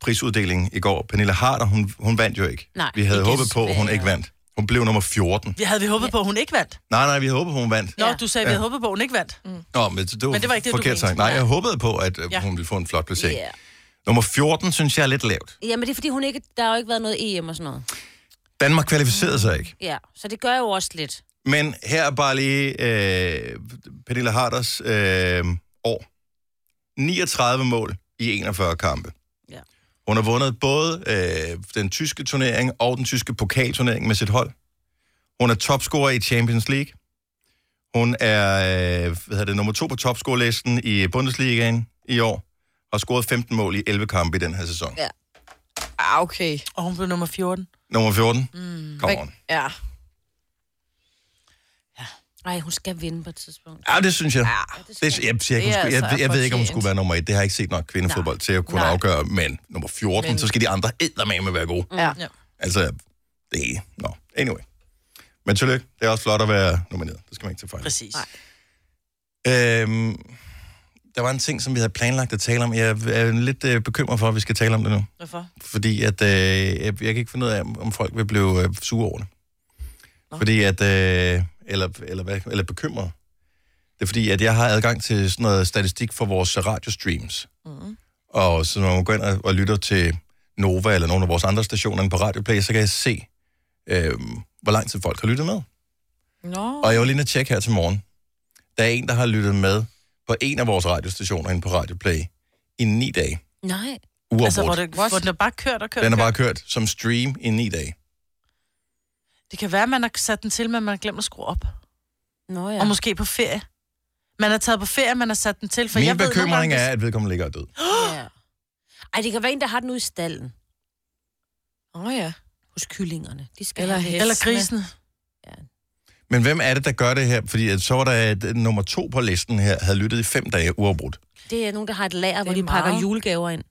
S1: prisuddeling i går. Pernille Harder, hun, hun vandt jo ikke.
S3: Nej,
S1: vi havde
S3: ikke
S1: håbet på, at hun
S3: desværre.
S1: ikke vandt. Hun blev nummer 14.
S2: Vi havde vi håbet på, at hun ikke vandt.
S1: Nej, nej, vi havde håbet på, hun vandt.
S2: Nå,
S3: Ja.
S2: ja. du sagde, at vi havde håbet på, at hun ikke vandt.
S1: Nå, men det, det var,
S2: Men det var ikke det, du
S1: forkert
S2: mente.
S1: sagt. Nej, jeg håbede på, at øh,
S2: Ja.
S1: hun ville få en flot placering.
S3: Yeah.
S1: Nummer 14 synes jeg er lidt lavt.
S3: Ja, men det er fordi, hun ikke, der har jo ikke været noget EM og sådan noget.
S1: Danmark kvalificerede sig ikke.
S3: Ja, så det gør jo også lidt.
S1: Men her er bare lige øh, Pernille Harders øh, år. 39 mål i 41 kampe.
S3: Ja.
S1: Hun har vundet både øh, den tyske turnering og den tyske pokalturnering med sit hold. Hun er topscorer i Champions League. Hun er øh, hvad hedder det, nummer to på topscorelisten i Bundesligaen i år. Og har scoret 15 mål i 11 kampe i den her sæson.
S3: Ja.
S4: Ah, okay.
S2: Og hun blev nummer 14.
S1: Nummer 14. Mm. Kom on.
S4: Ja.
S3: Nej, hun skal vinde på et tidspunkt.
S1: Ja, det synes jeg.
S3: skal
S1: Det, jeg, siger, ikke, hun
S4: Det er
S1: skulle, jeg,
S4: altså
S1: jeg ved ikke, om hun
S4: fortjent.
S1: skulle være nummer et. Det har jeg ikke set nok kvindefodbold til at kunne
S3: Nej.
S1: afgøre. Men nummer 14, men... så skal de andre eddermame være gode.
S4: Ja.
S2: Ja.
S1: Altså, det er... Nå, anyway. Men tillykke. Det er også flot at være nomineret. Det skal man ikke tage fejl.
S2: Præcis. Nej.
S1: Øhm, der var en ting, som vi havde planlagt at tale om. Jeg er lidt øh, bekymret for, at vi skal tale om det nu.
S2: Hvorfor?
S1: Fordi at, øh, jeg, jeg kan ikke finde ud af, om om folk vil blive øh, sure over det. Nå. Fordi at... Øh, eller, eller, hvad, eller bekymret. Det er fordi, at jeg har adgang til sådan noget statistik for vores radiostreams. Mm. Og så når man går ind og, og lytter til Nova eller nogle af vores andre stationer inde på Radioplay, så kan jeg se, øh, hvor lang tid folk har lyttet med.
S4: Nå.
S1: Og jeg var lige nødt til at tjekke her til morgen. Der er en, der har lyttet med på en af vores radiostationer inde på Radio Play i ni dage.
S3: Nej.
S1: Uafbrudt.
S2: Altså, hvor,
S1: Altså,
S2: det, hvor den er bare kørt og kørt.
S1: den
S2: og
S1: har bare
S2: kørt.
S1: kørt som stream i ni dage.
S2: Det kan være, at man har sat den til, men man har glemt at skrue op.
S3: Nå ja.
S2: Og måske på ferie. Man har taget på ferie, man har sat den til, for
S1: Min
S2: jeg ved nogle
S1: bekymring
S2: gange,
S1: er, at vedkommende ligger og er død.
S3: ja. Ej, det kan være en, der har den ude i stallen.
S4: Åh oh, ja.
S3: Hos kyllingerne. De skal
S4: Eller
S3: have den.
S4: hest.
S2: Eller grisen.
S1: Men hvem er det, der gør det her? Fordi at så var der at nummer to på listen her, havde lyttet i fem dage uafbrudt.
S3: Det er nogen, der har et lager, hvor
S4: er
S3: de pakker
S4: meget.
S3: julegaver ind. Der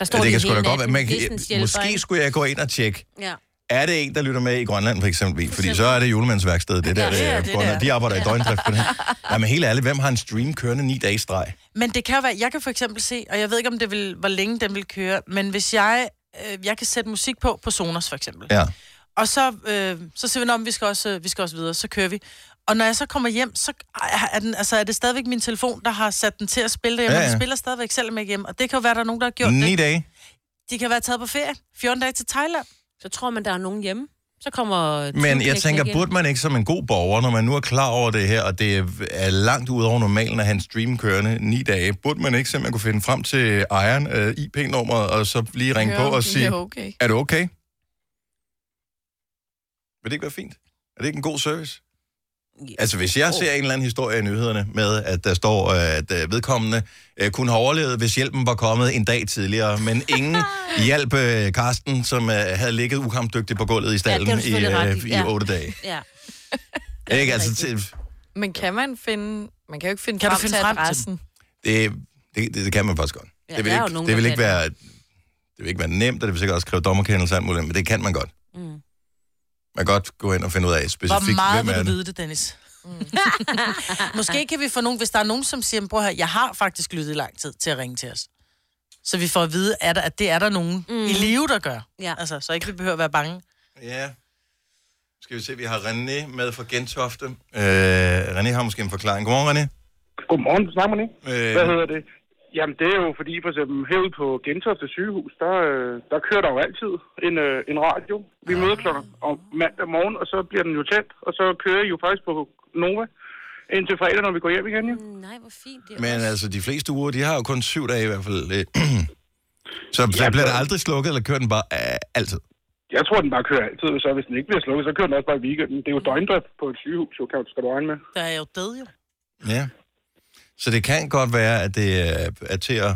S1: Ja, det kan
S3: hele
S1: sgu da godt være.
S3: natten.
S1: Man kan,
S3: Det er sådan en
S1: måske
S3: hjælper,
S1: skulle jeg gå ind og tjekke,
S3: ikke? Ja.
S1: er det en, der lytter med i Grønland, for eksempel? Fordi så er det julemandsværkstedet, det der.
S2: Ja, det er
S1: øh,
S2: det
S1: Grønland.
S2: der.
S1: De arbejder i døgndrift på det her. Nej, men helt ærligt, hvem har en stream kørende ni dage i streg?
S2: Men det kan jo være, jeg kan for eksempel se, og jeg ved ikke, om det vil, hvor længe den vil køre, men hvis jeg, øh, jeg kan sætte musik på, på Sonos for eksempel,
S1: Ja.
S2: og så, øh, så siger vi, om vi skal, også, øh, vi skal også videre, så kører vi. Og når jeg så kommer hjem, så er, den, altså, er det stadigvæk min telefon, der har sat den til at spille derhjemme,
S1: Ja,
S2: ja, ja.
S1: ja.
S2: den spiller stadigvæk selvom jeg ikke er hjemme. Og det kan jo være, der er nogen, der har gjort
S1: Ni
S2: det.
S1: dage.
S2: De kan være taget på ferie, 14 dage til Thailand.
S3: Så tror man, der er nogen hjemme. Så kommer...
S1: Men jeg
S3: tyveknægten
S1: tænker,
S3: igen.
S1: burde man ikke som en god borger, når man nu er klar over det her, og det er langt ud over normalen at have en stream kørende ni dage, burde man ikke simpelthen kunne finde frem til ejeren, øh, IP-nummeret, og så lige ringe på
S4: Høre, om
S1: og
S4: de
S1: sige,
S4: er okay.
S1: er du okay? Vil det ikke være fint? Er det ikke en god service? Altså, hvis jeg ser en eller anden historie i nyhederne med, at der står, øh, at øh, vedkommende øh, kunne have overlevet, hvis hjælpen var kommet en dag tidligere, men ingen hjalp øh, Karsten, som øh, havde ligget ukampdygtig på gulvet i
S3: det har
S1: stallen
S3: du
S1: i,
S3: selvfølgelig ret
S1: øh,
S3: i,
S1: i
S3: ja.
S1: otte dage.
S3: Ja.
S1: Ikke? Altså, til,
S4: Men kan man finde... Man kan jo ikke finde
S2: Kan du
S4: frem
S2: finde
S4: til
S2: frem til
S4: adressen.
S1: det, det, det, det kan man faktisk godt.
S3: Ja,
S1: det vil
S3: der er
S1: ikke,
S3: jo nogen,
S1: det
S3: der
S1: vil
S3: kan
S1: ikke
S3: det.
S1: være, det vil ikke være nemt, og det vil sikkert også kræve dommerkendelse og alt muligt, andet, men det kan man godt. Mm. Man kan godt gå ind og finde ud af specifikt,
S2: Hvor meget
S1: hvem
S2: vil
S1: er
S2: du
S1: det.
S2: vide det, Dennis? Mm. Måske kan vi få nogen, hvis der er nogen, som siger, bror her, jeg har faktisk lyttet i lang tid til at ringe til os. Så vi får at vide, er der, at det er der nogen mm. i live, der gør.
S3: Ja.
S2: Altså, så ikke vi behøver at være bange.
S1: Ja. Skal vi se, vi har René med fra Gentofte. Øh, René har måske en forklaring. Godmorgen, René.
S6: Godmorgen, snakker man ikke?
S1: Øh.
S6: Øh... Hvad hedder det? Jamen, det er jo fordi, for eksempel herude på Gentofte sygehus, der, øh, der kører der jo altid en, øh, en radio. Vi ja. møder klokken om mandag morgen, og så bliver den jo tændt, og så kører I jo faktisk på Nova indtil fredag, når vi går hjem igen, jo.
S3: Nej, hvor fint det er.
S1: Men
S3: også.
S1: altså, de fleste uger, de har jo kun syv dage i hvert fald. Øh, Så ja, bliver det aldrig slukket, eller kører den bare øh, altid?
S6: Jeg tror, den bare kører altid, så hvis den ikke bliver slukket, så kører den også bare i weekenden. Det er jo døgndrift på et sygehus, jo, kan du skal du regne med.
S2: Der er jo død, jo.
S1: Ja. Så det kan godt være, at det øh, er til at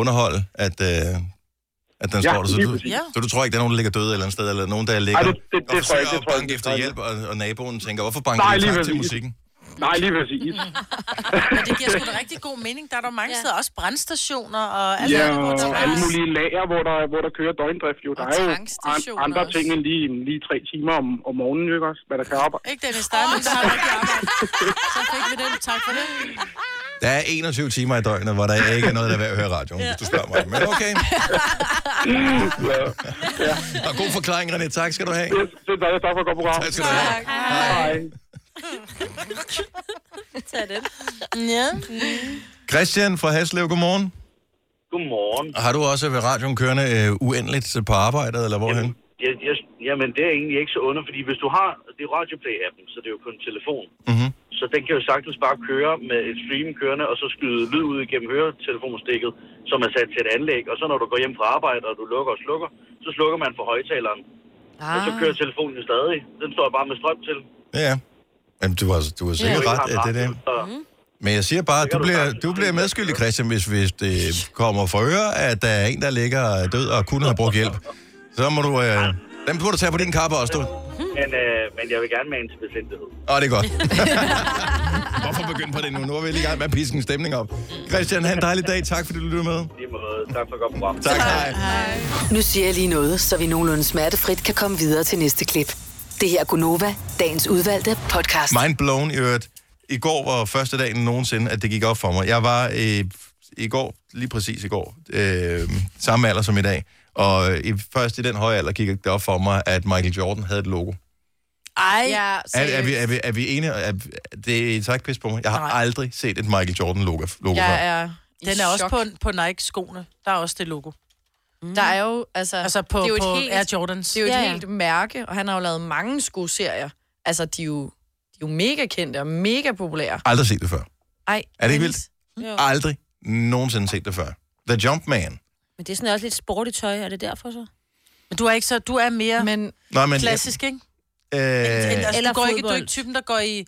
S1: underholde, at, øh, at den
S6: Ja,
S1: står der. Så
S6: lige
S1: du,
S6: præcis.
S2: Ja.
S1: så du tror ikke, der er nogen, der ligger døde et eller andet sted, eller nogen, der ligger
S6: Ej, det- det- det
S1: og
S6: tror jeg
S1: forsøger
S6: ikke, det
S1: at
S6: tror jeg
S1: banke
S6: ikke,
S1: efter
S6: det tror jeg
S1: hjælp, og, og naboen tænker, hvorfor banker
S6: Nej,
S1: du
S6: lige
S1: tak til
S6: præcis.
S1: musikken?
S6: Nej, lige præcis.
S2: Men det giver sgu da rigtig god mening. Der er der mange
S3: Ja.
S2: steder, også brandstationer og alt
S6: Ja,
S2: andet,
S6: og
S2: hvor der Altså, er-
S6: alle mulige lager, hvor der, hvor der kører døgndrift. Jo. Der er jo an-
S4: tankstationer
S6: andre
S4: også.
S6: ting end lige, lige tre timer om, om morgenen, jo, ikke også? Hvad der kan arbejde.
S2: Ikke Dennis, der er nogen, der har rigtig arbejde. Så fik vi den. Tak for det.
S1: Der er 21 timer i døgnet, hvor der ikke er noget, der er værd at høre radioen, hvis du spørger mig. Men okay.
S6: Ja.
S1: Og god forklaring, René. Tak skal du have.
S6: Det, det er dejligt. Tak for at gå på program.
S1: Tak skal du have.
S6: Hej.
S3: Tag den.
S2: Ja.
S1: Christian fra Haslev, godmorgen.
S7: Godmorgen.
S1: Og Har du også ved radioen kørende øh, uendeligt på arbejdet, eller hvorhen?
S7: Jeg,
S1: Mhm.
S7: jeg, jamen, det er egentlig ikke så under, fordi hvis du har det er radioplay-appen, så det er jo på en telefon, mm-hmm. Så den kan jo sagtens bare køre med et stream kørende, og så skyde lyd ud igennem høretelefonsstikket, som er sat til et anlæg. Og så når du går hjem fra arbejde, og du lukker og slukker, så slukker man for højtaleren. Ah. Og så kører telefonen jo stadig. Den står bare med strøm til.
S1: Ja, ja. Jamen, du har, du har sikkert
S7: Ja.
S1: ret, at det er det.
S7: Så,
S1: Men jeg siger bare, at du bliver, du bliver medskyldig, Christian, hvis, hvis det kommer for øre, at der er en, der ligger død og kunne have brugt hjælp. Så må du... Øh, dem må du tage på din kappe også, du.
S7: men, øh, men jeg vil gerne med en til besindighed.
S1: Åh, det er godt. Hvorfor begynde på det nu? Nu er vi lige i gang med at piske en stemning op. Christian, have en dejlig dag. Tak, fordi du lyttede med.
S7: Lige måde. Tak for at komme frem.
S1: Tak, hej.
S8: Nu siger jeg lige noget, så vi nogenlunde smertefrit kan komme videre til næste klip. Det her er Gunova, dagens udvalgte podcast.
S1: Mind blown i øvrigt. I går var første dagen nogensinde, at det gik op for mig. Jeg var øh, i går, lige præcis i går, øh, samme alder som i dag. Og øh, i- først i den høje alder gik det op for mig, at Michael Jordan havde et logo.
S2: Ej,
S4: Ja,
S1: Er, er, vi, er, vi, er vi enige? Er, det er tak pis på mig. Jeg har
S2: Nej.
S1: aldrig set et Michael Jordan logo, logo
S4: jeg
S1: før.
S4: er i
S2: den er også
S4: chok.
S2: på, på Nike-skoene. Der er også det logo.
S4: Der er jo, altså,
S2: Altså på,
S4: det er jo et
S2: på
S4: helt-
S2: Air Jordans.
S4: det er jo et
S3: Ja,
S4: ja,
S3: ja.
S4: ja. helt mærke, og han har jo lavet mange skoserier. Altså, de er jo, de er jo mega kendte og mega populære.
S1: Aldrig set det før.
S4: Ej,
S1: Er det ikke
S4: Dennis. Jo.
S1: Aldrig nogensinde set det før. The Jumpman.
S3: Men det er sådan også lidt sportigt tøj, er det derfor så?
S2: Men du er ikke så... Du er mere men,
S4: Men
S1: Nå, men,
S2: klassisk, ikke?
S1: Øh,
S2: Øh, altså,
S3: Eller
S2: du, går ikke, du er
S3: fodbold.
S2: ikke typen, der går i...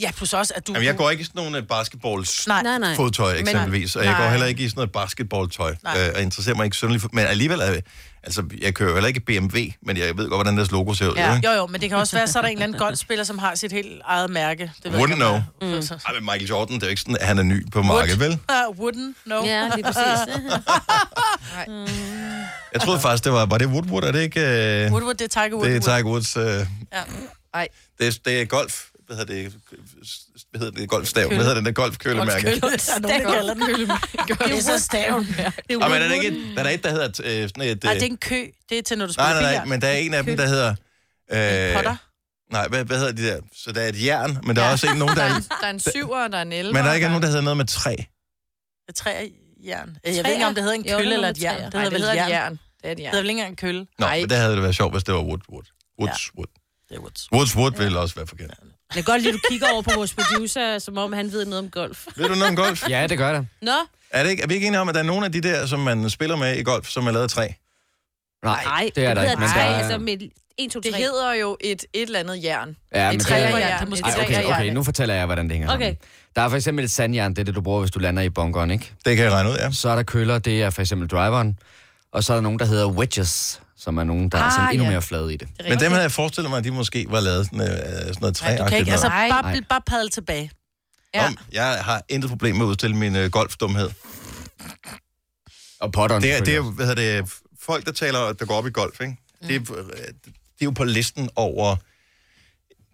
S2: Ja, plus også, at du...
S1: jamen, jeg går ikke i sådan nogle øh, basketballs
S2: Nej,
S3: Nej, nej.
S1: fodtøj eksempelvis, og jeg går heller ikke i sådan noget basketballtøj,
S2: Nej.
S1: øh, og interesserer mig ikke synderligt for, men alligevel, er, altså, jeg kører jo heller ikke BMW, men jeg ved godt, hvordan deres logo ser ud, ja.
S4: Ja.
S1: ikke?
S2: Jo, jo, men det kan også være, så er der en eller anden golfspiller, som har sit helt eget mærke. Det
S1: Wouldn't
S2: ikke, om
S1: know.
S2: jeg- Så-
S1: Ej, men Michael Jordan, det er jo ikke sådan, at han er ny på markedet, vel?
S2: Ah, wouldn't know.
S3: Ja, lige præcis.
S1: Jeg troede
S2: Altså.
S1: faktisk, det var, var det Woodward, er det ikke? Øh, Woodward.
S2: Woodward, det er Tiger Woods.
S1: Det er Tiger Woods, øh,
S4: Ej,
S1: det, er, det er golf, hvad hedder det, hvad hedder det, golfstav, hvad hedder den der golfkølemærke?
S2: Undskyld, der er nogen, der kalder den. Det er så staven. Det
S1: Ej, men er der ikke, et- der er der et, der hedder øh, sådan et...
S2: Nej,
S1: øh,
S2: det er en kø. Det er til, når du
S1: Nej,
S2: spiller
S1: nej, nej, men der er en af dem, der hedder... Øh,
S2: Potter.
S1: nej, hvad, hvad hedder de der? Så der er et jern, men der er også en, nogen,
S4: der
S1: der
S4: er,
S1: er,
S4: en, der er en syver, og der er en elver.
S1: men der er ikke
S4: og
S1: nogen, der hedder noget med træ.
S2: Træjern. Jeg ved ikke, om det hedder en
S3: Jo,
S2: kølle
S3: det er
S2: eller
S3: nummer
S2: et jern.
S3: træer.
S2: Det
S4: Nej,
S2: hedder
S4: det
S2: vel
S4: hedder
S2: et jern.
S4: et jern. Det er et
S2: Det
S4: jern.
S2: hedder vel ikke engang en kølle.
S1: Nå,
S4: Ej.
S1: men det havde det været sjovt, hvis det var Wood, Wood. Woods, Wood.
S2: Det er Woods.
S1: Woods Wood ville også være forkert.
S3: Jeg kan godt lide, at du kigger over på vores producer, som om han ved noget om golf.
S1: Ved du noget om golf?
S9: Ja, det gør det.
S3: Nå,
S1: Er, det ikke, er vi ikke enige om, at der er nogle af de der, som man spiller med i golf, som er lavet af træ?
S9: Nej,
S3: nej,
S9: det er der ikke.
S3: hedder
S9: Men
S3: tre,
S9: der er,
S3: altså med 1, 2, 3.
S4: Det hedder jo et, et eller andet jern.
S9: ja,
S4: et
S9: men
S4: træer,
S9: det,
S4: ja.
S9: er-
S4: Det er måske
S9: Ej, okay, okay, nu fortæller jeg, hvordan det hænger
S3: Okay.
S9: sammen. Der er for eksempel et sandjern, det er det, du bruger, hvis du lander i bunkeren, ikke?
S1: Det kan jeg regne ud, ja.
S9: Så er der køller, det er for eksempel driveren. Og så er der nogen, der hedder wedges, som er nogen, der ah, er sådan
S4: Ah,
S9: endnu
S4: ja.
S9: mere flade i det.
S1: Men dem havde jeg forestillet mig, at de måske var lavet sådan, øh, sådan noget
S2: Nej, du kan
S1: træagtigt
S2: ikke. Altså,
S1: noget.
S2: bare,
S9: Nej.
S2: bare padle tilbage.
S4: ja.
S1: Om, jeg har intet problem med at udstille min øh, golfdumhed.
S9: Og potteren.
S1: Det er, det er,
S9: selvfølgelig.
S1: hvad hedder det, folk, der taler, der går op i golf, ikke? Det, er,
S2: Mm.
S1: øh, det er jo på listen over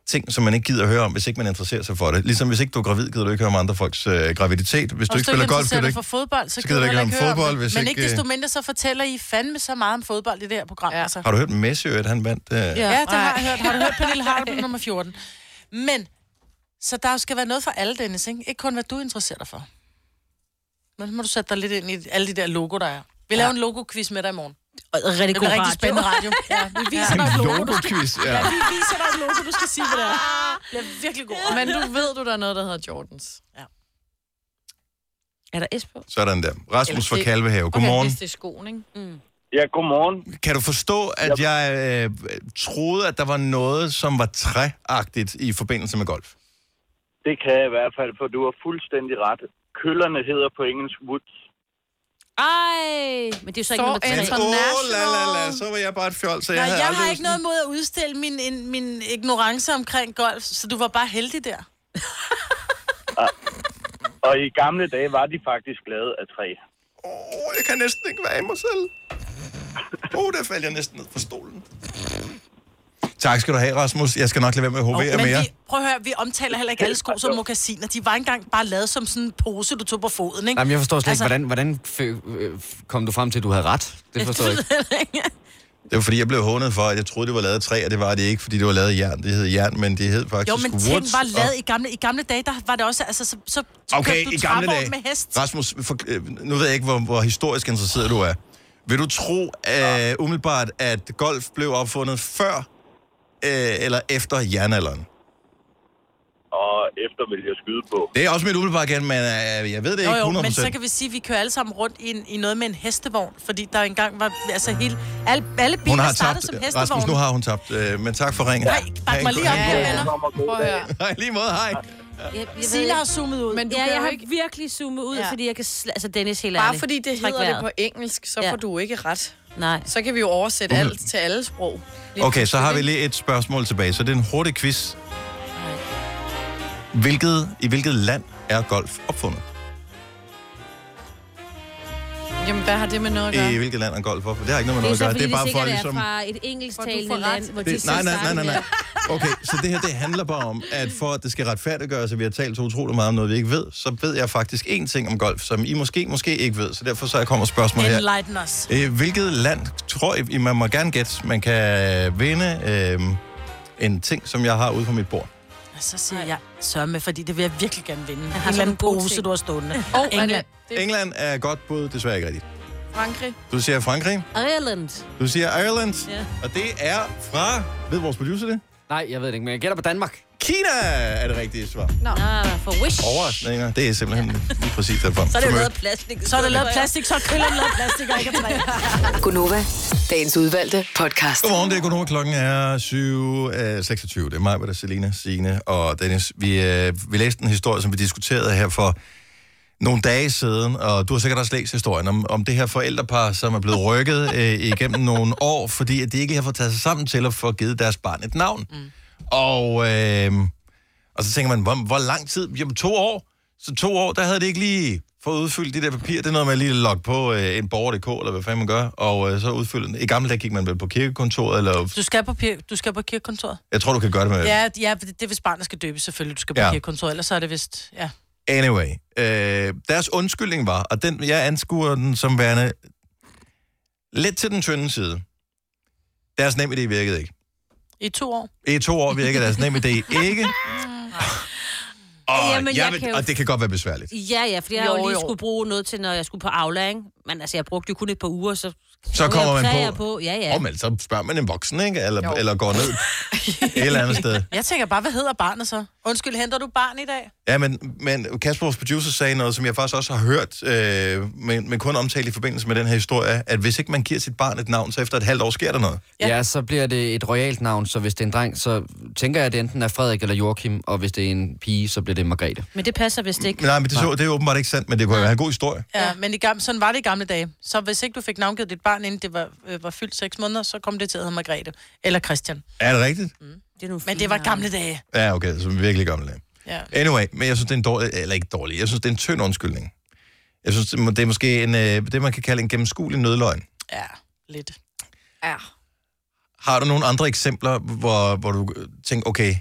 S1: ting, som man ikke gider at høre om, hvis ikke man interesserer sig for det. Ligesom hvis ikke du er gravid, gider du ikke høre om andre folks øh, graviditet. Hvis du ikke spiller golf, gider du
S2: interesserer dig
S1: ikke...
S2: for fodbold, så,
S1: så
S2: gider du ikke om fodbold.
S1: hvis
S2: Men
S1: ikke, øh,
S2: ikke desto mindre, så fortæller I fandme så meget om fodbold i det her program.
S4: Ja.
S2: Altså.
S1: Har du hørt Messi, at han vandt? Øh... Ja.
S2: Ja, det har jeg hørt. Har du hørt Pernille Harder nummer 14? Men, så der skal være noget for alle, Dennis, ikke? Ikke kun, hvad du interesserer dig for. Men så må du sætte dig lidt ind i alle de der logo, der er. Vi laver en logo-quiz med dig i morgen.
S3: rigtig
S2: Det
S3: god
S2: bliver rigtig
S3: radio.
S2: spændende radio. Ja, vi viser dig et
S1: En
S2: logo. Du skal,
S1: logo-quiz, ja.
S2: vi viser dig et logo, du skal sige, hvad det er. Det bliver virkelig god.
S4: Men du ved, du der er noget, der hedder Jordans.
S3: Er der S på?
S1: Sådan der. Rasmus fra
S4: det-
S1: Kalvehave, godmorgen.
S4: Hvis det er skoen, ikke?
S7: Ja, godmorgen.
S1: Kan du forstå, at jeg øh, troede, at der var noget, som var træagtigt i forbindelse med golf?
S7: Det kan jeg i hvert fald, for du har fuldstændig ret. Køllerne hedder på engelsk woods.
S3: Ej, men det er jo så ikke
S4: Så
S3: nummer 3.
S1: Men
S4: International.
S1: åh, la, la, la, så var jeg bare et fjol, så jeg
S2: Nå,
S1: havde
S2: jeg
S1: aldrig
S2: har ikke noget mod at udstille min, en, min ignorance omkring golf, så du var bare heldig der.
S7: Og i gamle dage var de faktisk lavet af træ.
S1: Åh, jeg kan næsten ikke være i mig selv. Åh, oh, der faldt jeg næsten ned fra stolen. Tak skal du have, Rasmus. Jeg skal nok lade være med at hovere
S2: Men
S1: mere.
S2: vi, prøv at høre, vi omtaler heller ikke alle sko som mokassiner. De var engang bare lavet som sådan en pose, du tog på foden, ikke?
S9: Jamen, jeg forstår slet
S2: Altså-
S9: altså... ikke, hvordan, hvordan fø- øh, f- kom du frem til, at du havde ret? Det forstår jeg ikke.
S1: Det var fordi, jeg blev hånet for, at jeg troede, det var lavet af træ, og det var det ikke, fordi det var lavet af jern. Det hed jern, men det hed faktisk
S2: Jo, men ting
S1: woods.
S2: var lavet i gamle, i gamle dage, der var det også, altså, så, så
S1: og... Okay,
S2: kørte du
S1: i gamle
S2: trævogn
S1: dage.
S2: med hest.
S1: Rasmus, for, øh, nu ved jeg ikke, hvor, hvor historisk interesseret du er. Vil du tro øh, umiddelbart, at golf blev opfundet før øh, eller efter jernalderen?
S7: Og efter, vil jeg skyde på.
S1: Det er også mit umiddelbare igen, men øh, jeg ved det
S2: Nå,
S1: ikke 100%.
S2: jo, men så kan vi sige, at vi kører alle sammen rundt i, en, i noget med en hestevogn, fordi der engang var, altså hele, alle, alle biler
S1: hun har
S2: startede
S1: tabt,
S2: som
S1: Rasmus, nu
S2: hestevogn.
S1: har hun tabt, øh, men tak for ringen.
S2: Nej, bak mig lige op,
S1: Ja,
S2: ja, venner.
S7: Prøv
S4: at høre.
S1: Hej, lige måde, hej.
S3: Jeg, jeg
S2: Silla har zoomet ud.
S4: Men du
S3: ja,
S4: kan
S3: jeg
S4: jo
S3: har
S4: ikke...
S3: ikke... virkelig zoomet ud,
S4: Ja.
S3: ja. fordi jeg kan... Sl- altså, Dennis, helt
S4: Bare
S3: ærligt.
S4: fordi det
S3: Træk
S4: hedder det
S3: vejret.
S4: på engelsk, så
S3: Ja.
S4: får du ikke ret.
S3: Nej.
S4: Så kan vi jo oversætte
S9: Mhm.
S4: alt til alle sprog. Lige
S1: Okay, så har vi
S4: pludselig,
S1: lige et spørgsmål tilbage, så det er en hurtig quiz. Hvilket, I hvilket land er golf opfundet?
S4: ikke? Jamen, hvad har det med noget at
S1: I
S9: Øh,
S4: gøre?
S1: hvilket land er golf opfundet? Det har ikke noget
S3: Det
S1: med noget
S3: er så,
S1: at gøre.
S3: fordi
S1: Det er bare
S3: det
S1: for
S3: sikkert
S1: ligesom...
S3: er fra et engelsktalende
S4: Hvor du får ret.
S3: land, hvor de
S1: Det,
S3: så
S1: nej, nej, nej,
S3: snakker
S1: nej, nej.
S3: med-
S1: Okay, så det her, det handler bare om, at for at det skal retfærdiggøres, at vi har talt så utrolig meget om noget, vi ikke ved, så ved jeg faktisk én ting om golf, som I måske, måske ikke ved. Så derfor så kommer spørgsmålet her.
S2: Enlighten os.
S1: Øh, Hvilket land tror I, man må gerne gætte, man kan vinde øh, en ting, som jeg har ude på mit bord?
S2: Og så siger jeg, sørg med, fordi det vil jeg virkelig gerne vinde. Jeg har en
S3: sådan
S2: eller anden
S3: en god
S2: pose,
S3: ting.
S2: du har stående.
S4: Åh, er
S2: England.
S4: det, det er
S1: England er et godt bud, desværre ikke rigtigt.
S4: Frankrig.
S1: Du siger Frankrig,
S3: Ireland.
S1: du siger Ireland,
S3: Ja.
S1: og det er fra, ved vores producer det?
S9: Nej, jeg ved det ikke, men jeg gætter på Danmark.
S1: Kina er det rigtige svar.
S3: Ah, for wish.
S1: Overraskninger, det er simpelthen lige præcis derfor.
S3: Så er det jo lavet af plastik.
S2: Så er det lavet af plastik, så er krillerne lavet af plastik, og ikke af træ.
S8: Gunova, dagens udvalgte podcast.
S1: Godmorgen, det er Godmorgen. Klokken er 7.26. Det er mig, der Selina, Signe og Dennis. Vi, øh, vi læste en historie, som vi diskuterede her for nogle dage siden, og du har sikkert også læst historien om, om det her forældrepar, som er blevet rykket øh, igennem nogle år, fordi at de ikke har fået taget sig sammen til at få givet deres barn et navn. Mm. Og, øh, og så tænker man, hvor, hvor lang tid? Jamen to år. Så to år, der havde det ikke lige fået udfyldt de der papirer. Det er noget med at lige logge på øh, en borger.dk, eller hvad fanden man gør, og øh, så udfylde den. I gamle dage gik man vel på kirkekontoret, eller
S2: Du skal på, pir- du skal på kirkekontoret.
S1: jeg tror, du kan gøre det med...
S2: Ja, ja, det er, hvis barnet skal døbes, selvfølgelig, du skal på
S1: Ja.
S2: ja. kirkekontoret, ellers så er det vist, ja.
S1: Anyway, øh, deres undskyldning var, og den, jeg anskuer den som værende lidt til den tynde side. Deres NemID virkede ikke.
S2: I to år.
S1: I to år virkede deres NemID ikke. Og,
S3: Jamen, jeg
S1: jeg vil,
S3: kan jo-
S1: og det kan godt være besværligt.
S3: Ja, ja, fordi jeg jo,
S4: Jo,
S3: jo lige
S4: jo.
S3: skulle bruge noget til, når jeg skulle på Aula, ikke? Men altså, jeg brugte jo kun et par uger, så...
S1: Så kommer man
S3: Så er
S1: på,
S3: jeg på, ja, ja.
S1: Om, så spørger man en voksen, ikke? Eller,
S4: Jo.
S1: eller går ned et eller andet sted.
S2: Jeg tænker bare, hvad hedder barnet så? Undskyld, henter du barn i dag?
S1: Ja, men, men Kasper, vores producer, sagde noget, som jeg faktisk også har hørt, øh, men, men kun omtalt i forbindelse med den her historie, at hvis ikke man giver sit barn et navn, så efter et halvt år sker der noget.
S9: Ja. ja, så bliver det et royalt navn, så hvis det er en dreng, så tænker jeg, at det enten er Frederik eller Joachim, og hvis det er en pige, så bliver det Margrethe.
S3: Men det passer vist ikke.
S1: Men Nej, men det, så, det er åbenbart ikke sandt, men det kunne jo være en god historie.
S2: Ja, men i gamle, sådan var det i gamle dage. Så hvis ikke du fik navngivet dit barn, inden det var, øh, var fyldt seks måneder, så kom det til at hedde Margrethe eller Christian.
S1: Er det rigtigt?
S3: Det er nogle
S2: Men
S3: fine
S2: det var
S3: navne.
S2: gamle dage.
S1: Ja, okay, så er vi virkelig gamle dage.
S2: Ja.
S1: Anyway, men jeg synes, det er en dårlig, eller ikke dårlig, jeg synes, det er en tynd undskyldning. Jeg synes, det må- det er måske en, øh, det, man kan kalde en gennemskuelig nødløgn.
S2: Ja, lidt.
S1: Øh.
S4: Ja.
S1: Har du nogle andre eksempler, hvor, hvor du øh, tænker, okay,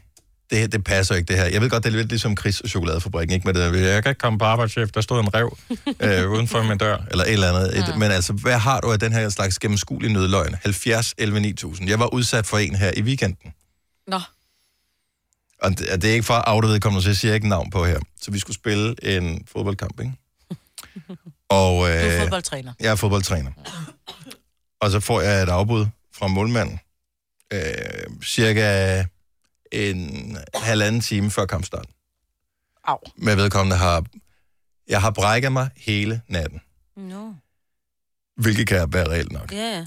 S1: det, her, det passer ikke det her. Jeg ved godt, det er lidt ligesom Chris og chokoladefabrikken, ikke? Men det, der, jeg kan ikke komme på arbejdschef, der stod en rev øh, uden for min dør, eller et eller andet. Et, Men altså, hvad har du af den her slags gennemskuelige nødløgn? 70, 11, 9000. Jeg var udsat for en her i weekenden.
S4: Nå.
S1: Og det, og det er ikke for at oute vedkommende, så jeg siger ikke navn på her. Så vi skulle spille en fodboldkamp, ikke? Og
S2: Du er
S1: øh,
S2: fodboldtræner.
S1: jeg er fodboldtræner. Og så får jeg et afbud fra målmanden. Øh, cirka en halvanden time før kampstart.
S2: Au.
S1: Med vedkommende har... Jeg har brækket mig hele natten.
S3: Nå,
S1: Hvilket kan være reelt nok.
S3: ja, ja.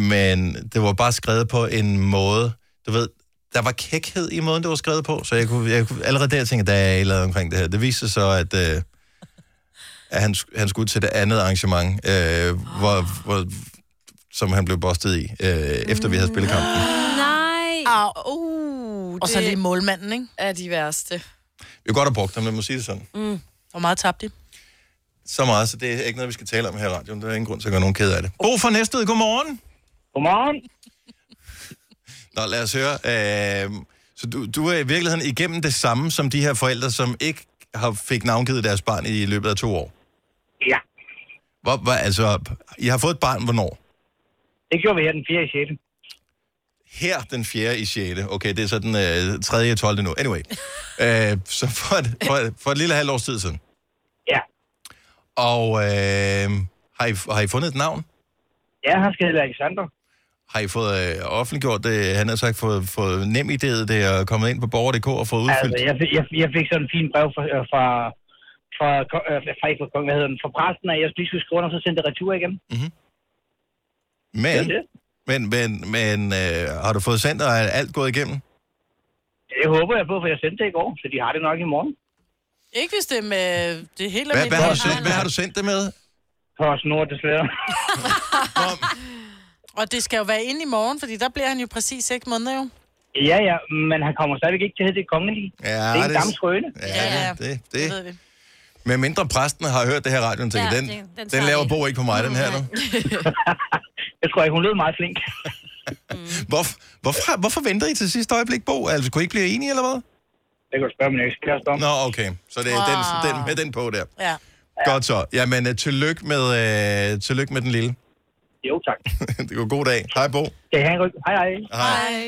S1: men det var bare skrevet på en måde, du ved, der var kækhed i måden, det var skrevet på, så jeg kunne, jeg kunne allerede der tænke, der er et eller andet omkring det her. Det viste sig så, at, øh, at han, sk- han skulle til det andet arrangement, øh, hvor, hvor, som han blev bustet i, øh, efter vi havde spillet kampen.
S3: Nej.
S4: Au, uh,
S2: Og så lige
S4: det
S2: målmanden, ikke?
S4: er de værste.
S1: Vi kunne godt have brugt ham, lad mig sige det sådan.
S2: Hvor meget tabte de?
S1: Så meget, så det er ikke noget, vi skal tale om her i radioen. Der er ingen grund til at gøre nogen ked af det. Bo fra Næstved, godmorgen.
S6: Godmorgen.
S1: Nå, lad os høre. Øh, så du, du er i virkeligheden igennem det samme som de her forældre, som ikke har fik navngivet deres barn i løbet af to år.
S6: Ja,
S1: Hvor, hvor, altså, I har fået et barn, hvornår?
S6: det gjorde vi her den 4. i 6.
S1: Her den 4. i 6. Okay, det er så den øh, 3. og 12. nu. Anyway. øh, så for et, for, et, for et lille halvt års tid siden.
S6: Ja.
S1: Og øh, har, I, har I fundet et navn?
S6: Ja, han skal hedde Alexander.
S1: Har I fået øh, offentliggjort det? Han har sagt, fået, fået nem idé, det er kommet ind på borger.dk og fået udfyldt.
S10: Altså, jeg, fik- jeg, jeg fik sådan en fin brev fra, øh, fra, fra, ko- øh, fra, ikke fra, kongen, hvad hedder den, fra præsten, at jeg lige skulle skrive under, og så sendte det retur igen.
S1: Men, men, men, men øh, har du fået sendt, og er alt gået igennem?
S10: Det håber jeg på, for jeg sendte det i går, så de har det nok i morgen.
S2: Ikke hvis det er med det er helt
S1: Hvad, hvad, har du
S2: almindelige.
S1: sendt, hvad har du sendt det med?
S10: PostNord, desværre.
S2: Og det skal jo være inde i morgen, fordi der bliver han jo præcis 6 måneder jo.
S10: Ja, ja, men han kommer stadigvæk ikke til at hedde det kongelige.
S1: Ja,
S10: det er en gammel skrøne.
S1: Ja, det, det, det. Med mindre præsten har hørt det her radioen, tænker,
S10: Ja,
S1: ja, den,
S10: det- den
S1: den, den
S10: tager
S1: laver
S10: vi.
S1: Bo ikke på mig, den her nu.
S10: Jeg tror ikke, hun lød meget flink.
S1: Hvorfor, hvorfor, hvorfor venter I til sidste øjeblik, Bo? Altså, kunne I ikke blive enige, eller hvad?
S10: Det kan du spørge min ekskæreste om.
S1: Nå, okay. Så det er
S10: Wow.
S1: den, den, med den på der.
S2: Ja.
S1: Godt så. Jamen, øh, tillykke med, øh, tillykke med den lille.
S10: Jo, tak.
S1: det var god dag. Hej, Bo.
S10: Kan I have en god... Hej, hej.
S1: Hej.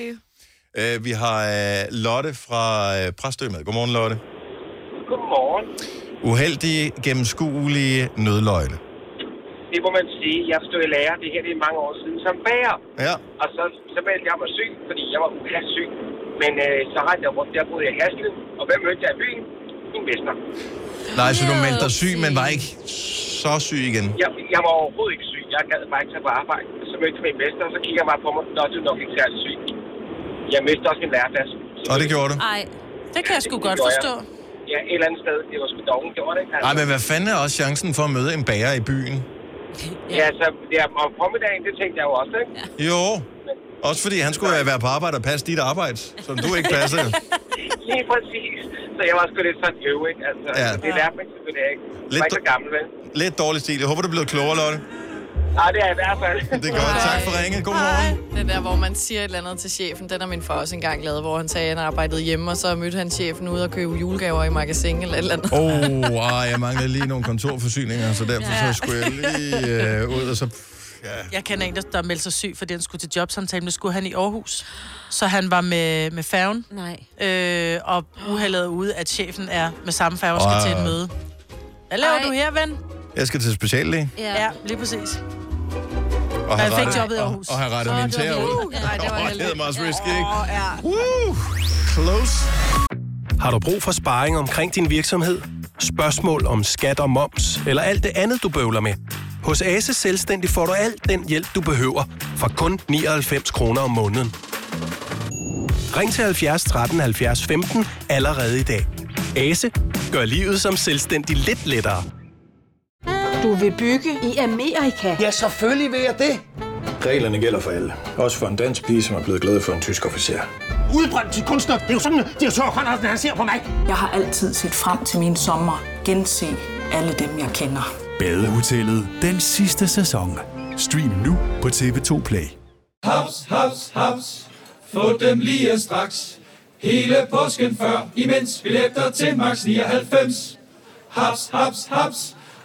S1: Øh, vi har øh, Lotte fra øh, Præstø med. Godmorgen, Lotte.
S11: Godmorgen.
S1: Uheldige, gennemskuelige nødløgne.
S11: Det må man sige. Jeg stod i lærer, det her det er mange år siden, som bager.
S1: Ja.
S11: Og så, så meldte jeg mig syg, fordi jeg var uklass syg. Men øh, så rejste jeg rundt, der boede jeg i Hasle. Og hvem mødte jeg i byen? Min mester.
S1: Nej, så du meldte dig syg, men var ikke så syg igen.
S11: Jeg, jeg var overhovedet ikke syg. Jeg gad bare ikke tage på arbejde. Så mødte jeg min mester, og så kigger jeg bare på mig. Nå, du er nok ikke særlig syg. Jeg mistede også min læreplads.
S1: Og det gjorde du.
S2: Nej, det kan jeg sgu godt
S11: gjorde jeg.
S2: forstå.
S11: Ja, et eller andet sted. Det var sgu dogen, gjorde det.
S1: Nej, men hvad fanden er også chancen for at møde en bager i byen?
S11: Ja, så ja, om formiddagen, det tænkte jeg jo også, ikke?
S1: Jo. Også fordi han skulle øh, være på arbejde og passe dit arbejde, som du ikke passer.
S11: Lige præcis. Så jeg var sgu lidt sådan øv, ikke? Altså,
S1: Ja.
S11: ja. det lærte man selvfølgelig ikke. Lidt var
S1: Lidt
S11: ikke så gammel, vel?
S1: Lidt dårlig stil. Jeg håber, du er blevet klogere, Lotte.
S11: Nej, det er jeg i hvert fald.
S1: Det er godt. Tak for ringet. God morgen.
S4: Den der, hvor man siger et eller andet til chefen, den har min far også engang lavet, hvor han sagde, at han arbejdede hjemme, og så mødte han chefen ude og købe julegaver i magasin eller et eller andet.
S1: Åh, oh, ah, jeg manglede lige nogle kontorforsyninger, så derfor så skulle jeg lige øh, ud, og så...
S2: Jeg kender en, der, der meldte sig syg, fordi han skulle til jobsamtale, men det skulle han i Aarhus. Så han var med, med færgen.
S3: Nej.
S2: Øh, og uheldet er ude, at chefen er med samme færge og skal
S1: Ej.
S2: til et møde. Hvad laver
S3: Ej.
S2: du her, ven?
S1: Jeg skal til speciallæge.
S3: Ja.
S2: ja lige præcis.
S1: Og
S2: Jeg fik jobbet i Aarhus.
S1: Og, og have rettet
S2: Så
S1: min
S2: det var
S1: tæer
S2: helt-
S1: ud.
S2: Ja, nej, det var
S1: Åh,
S2: heldigt.
S1: det er meget risky, ikke?
S2: ja.
S1: Woo! Close.
S12: Har du brug for sparring omkring din virksomhed? Spørgsmål om skat og moms, eller alt det andet, du bøvler med? Hos Ase Selvstændig får du alt den hjælp, du behøver, for kun 99 kroner om måneden. Ring til 70 13 70 15 allerede i dag. Ase gør livet som selvstændig lidt lettere.
S13: Du vil bygge i Amerika? Ja, selvfølgelig vil jeg det.
S12: Reglerne gælder for alle. Også for en dansk pige, som er blevet glad for en tysk officer.
S14: Udbrændt til kunstner. Det er jo sådan, at de har tørt, han ser på mig. Jeg har altid set frem til min sommer. Gense alle dem, jeg kender.
S15: Badehotellet den sidste sæson. Stream nu på TV2 Play.
S16: Haps, haps, haps. Få dem lige straks. Hele påsken før, imens vi læfter til max 99. Haps, haps, haps.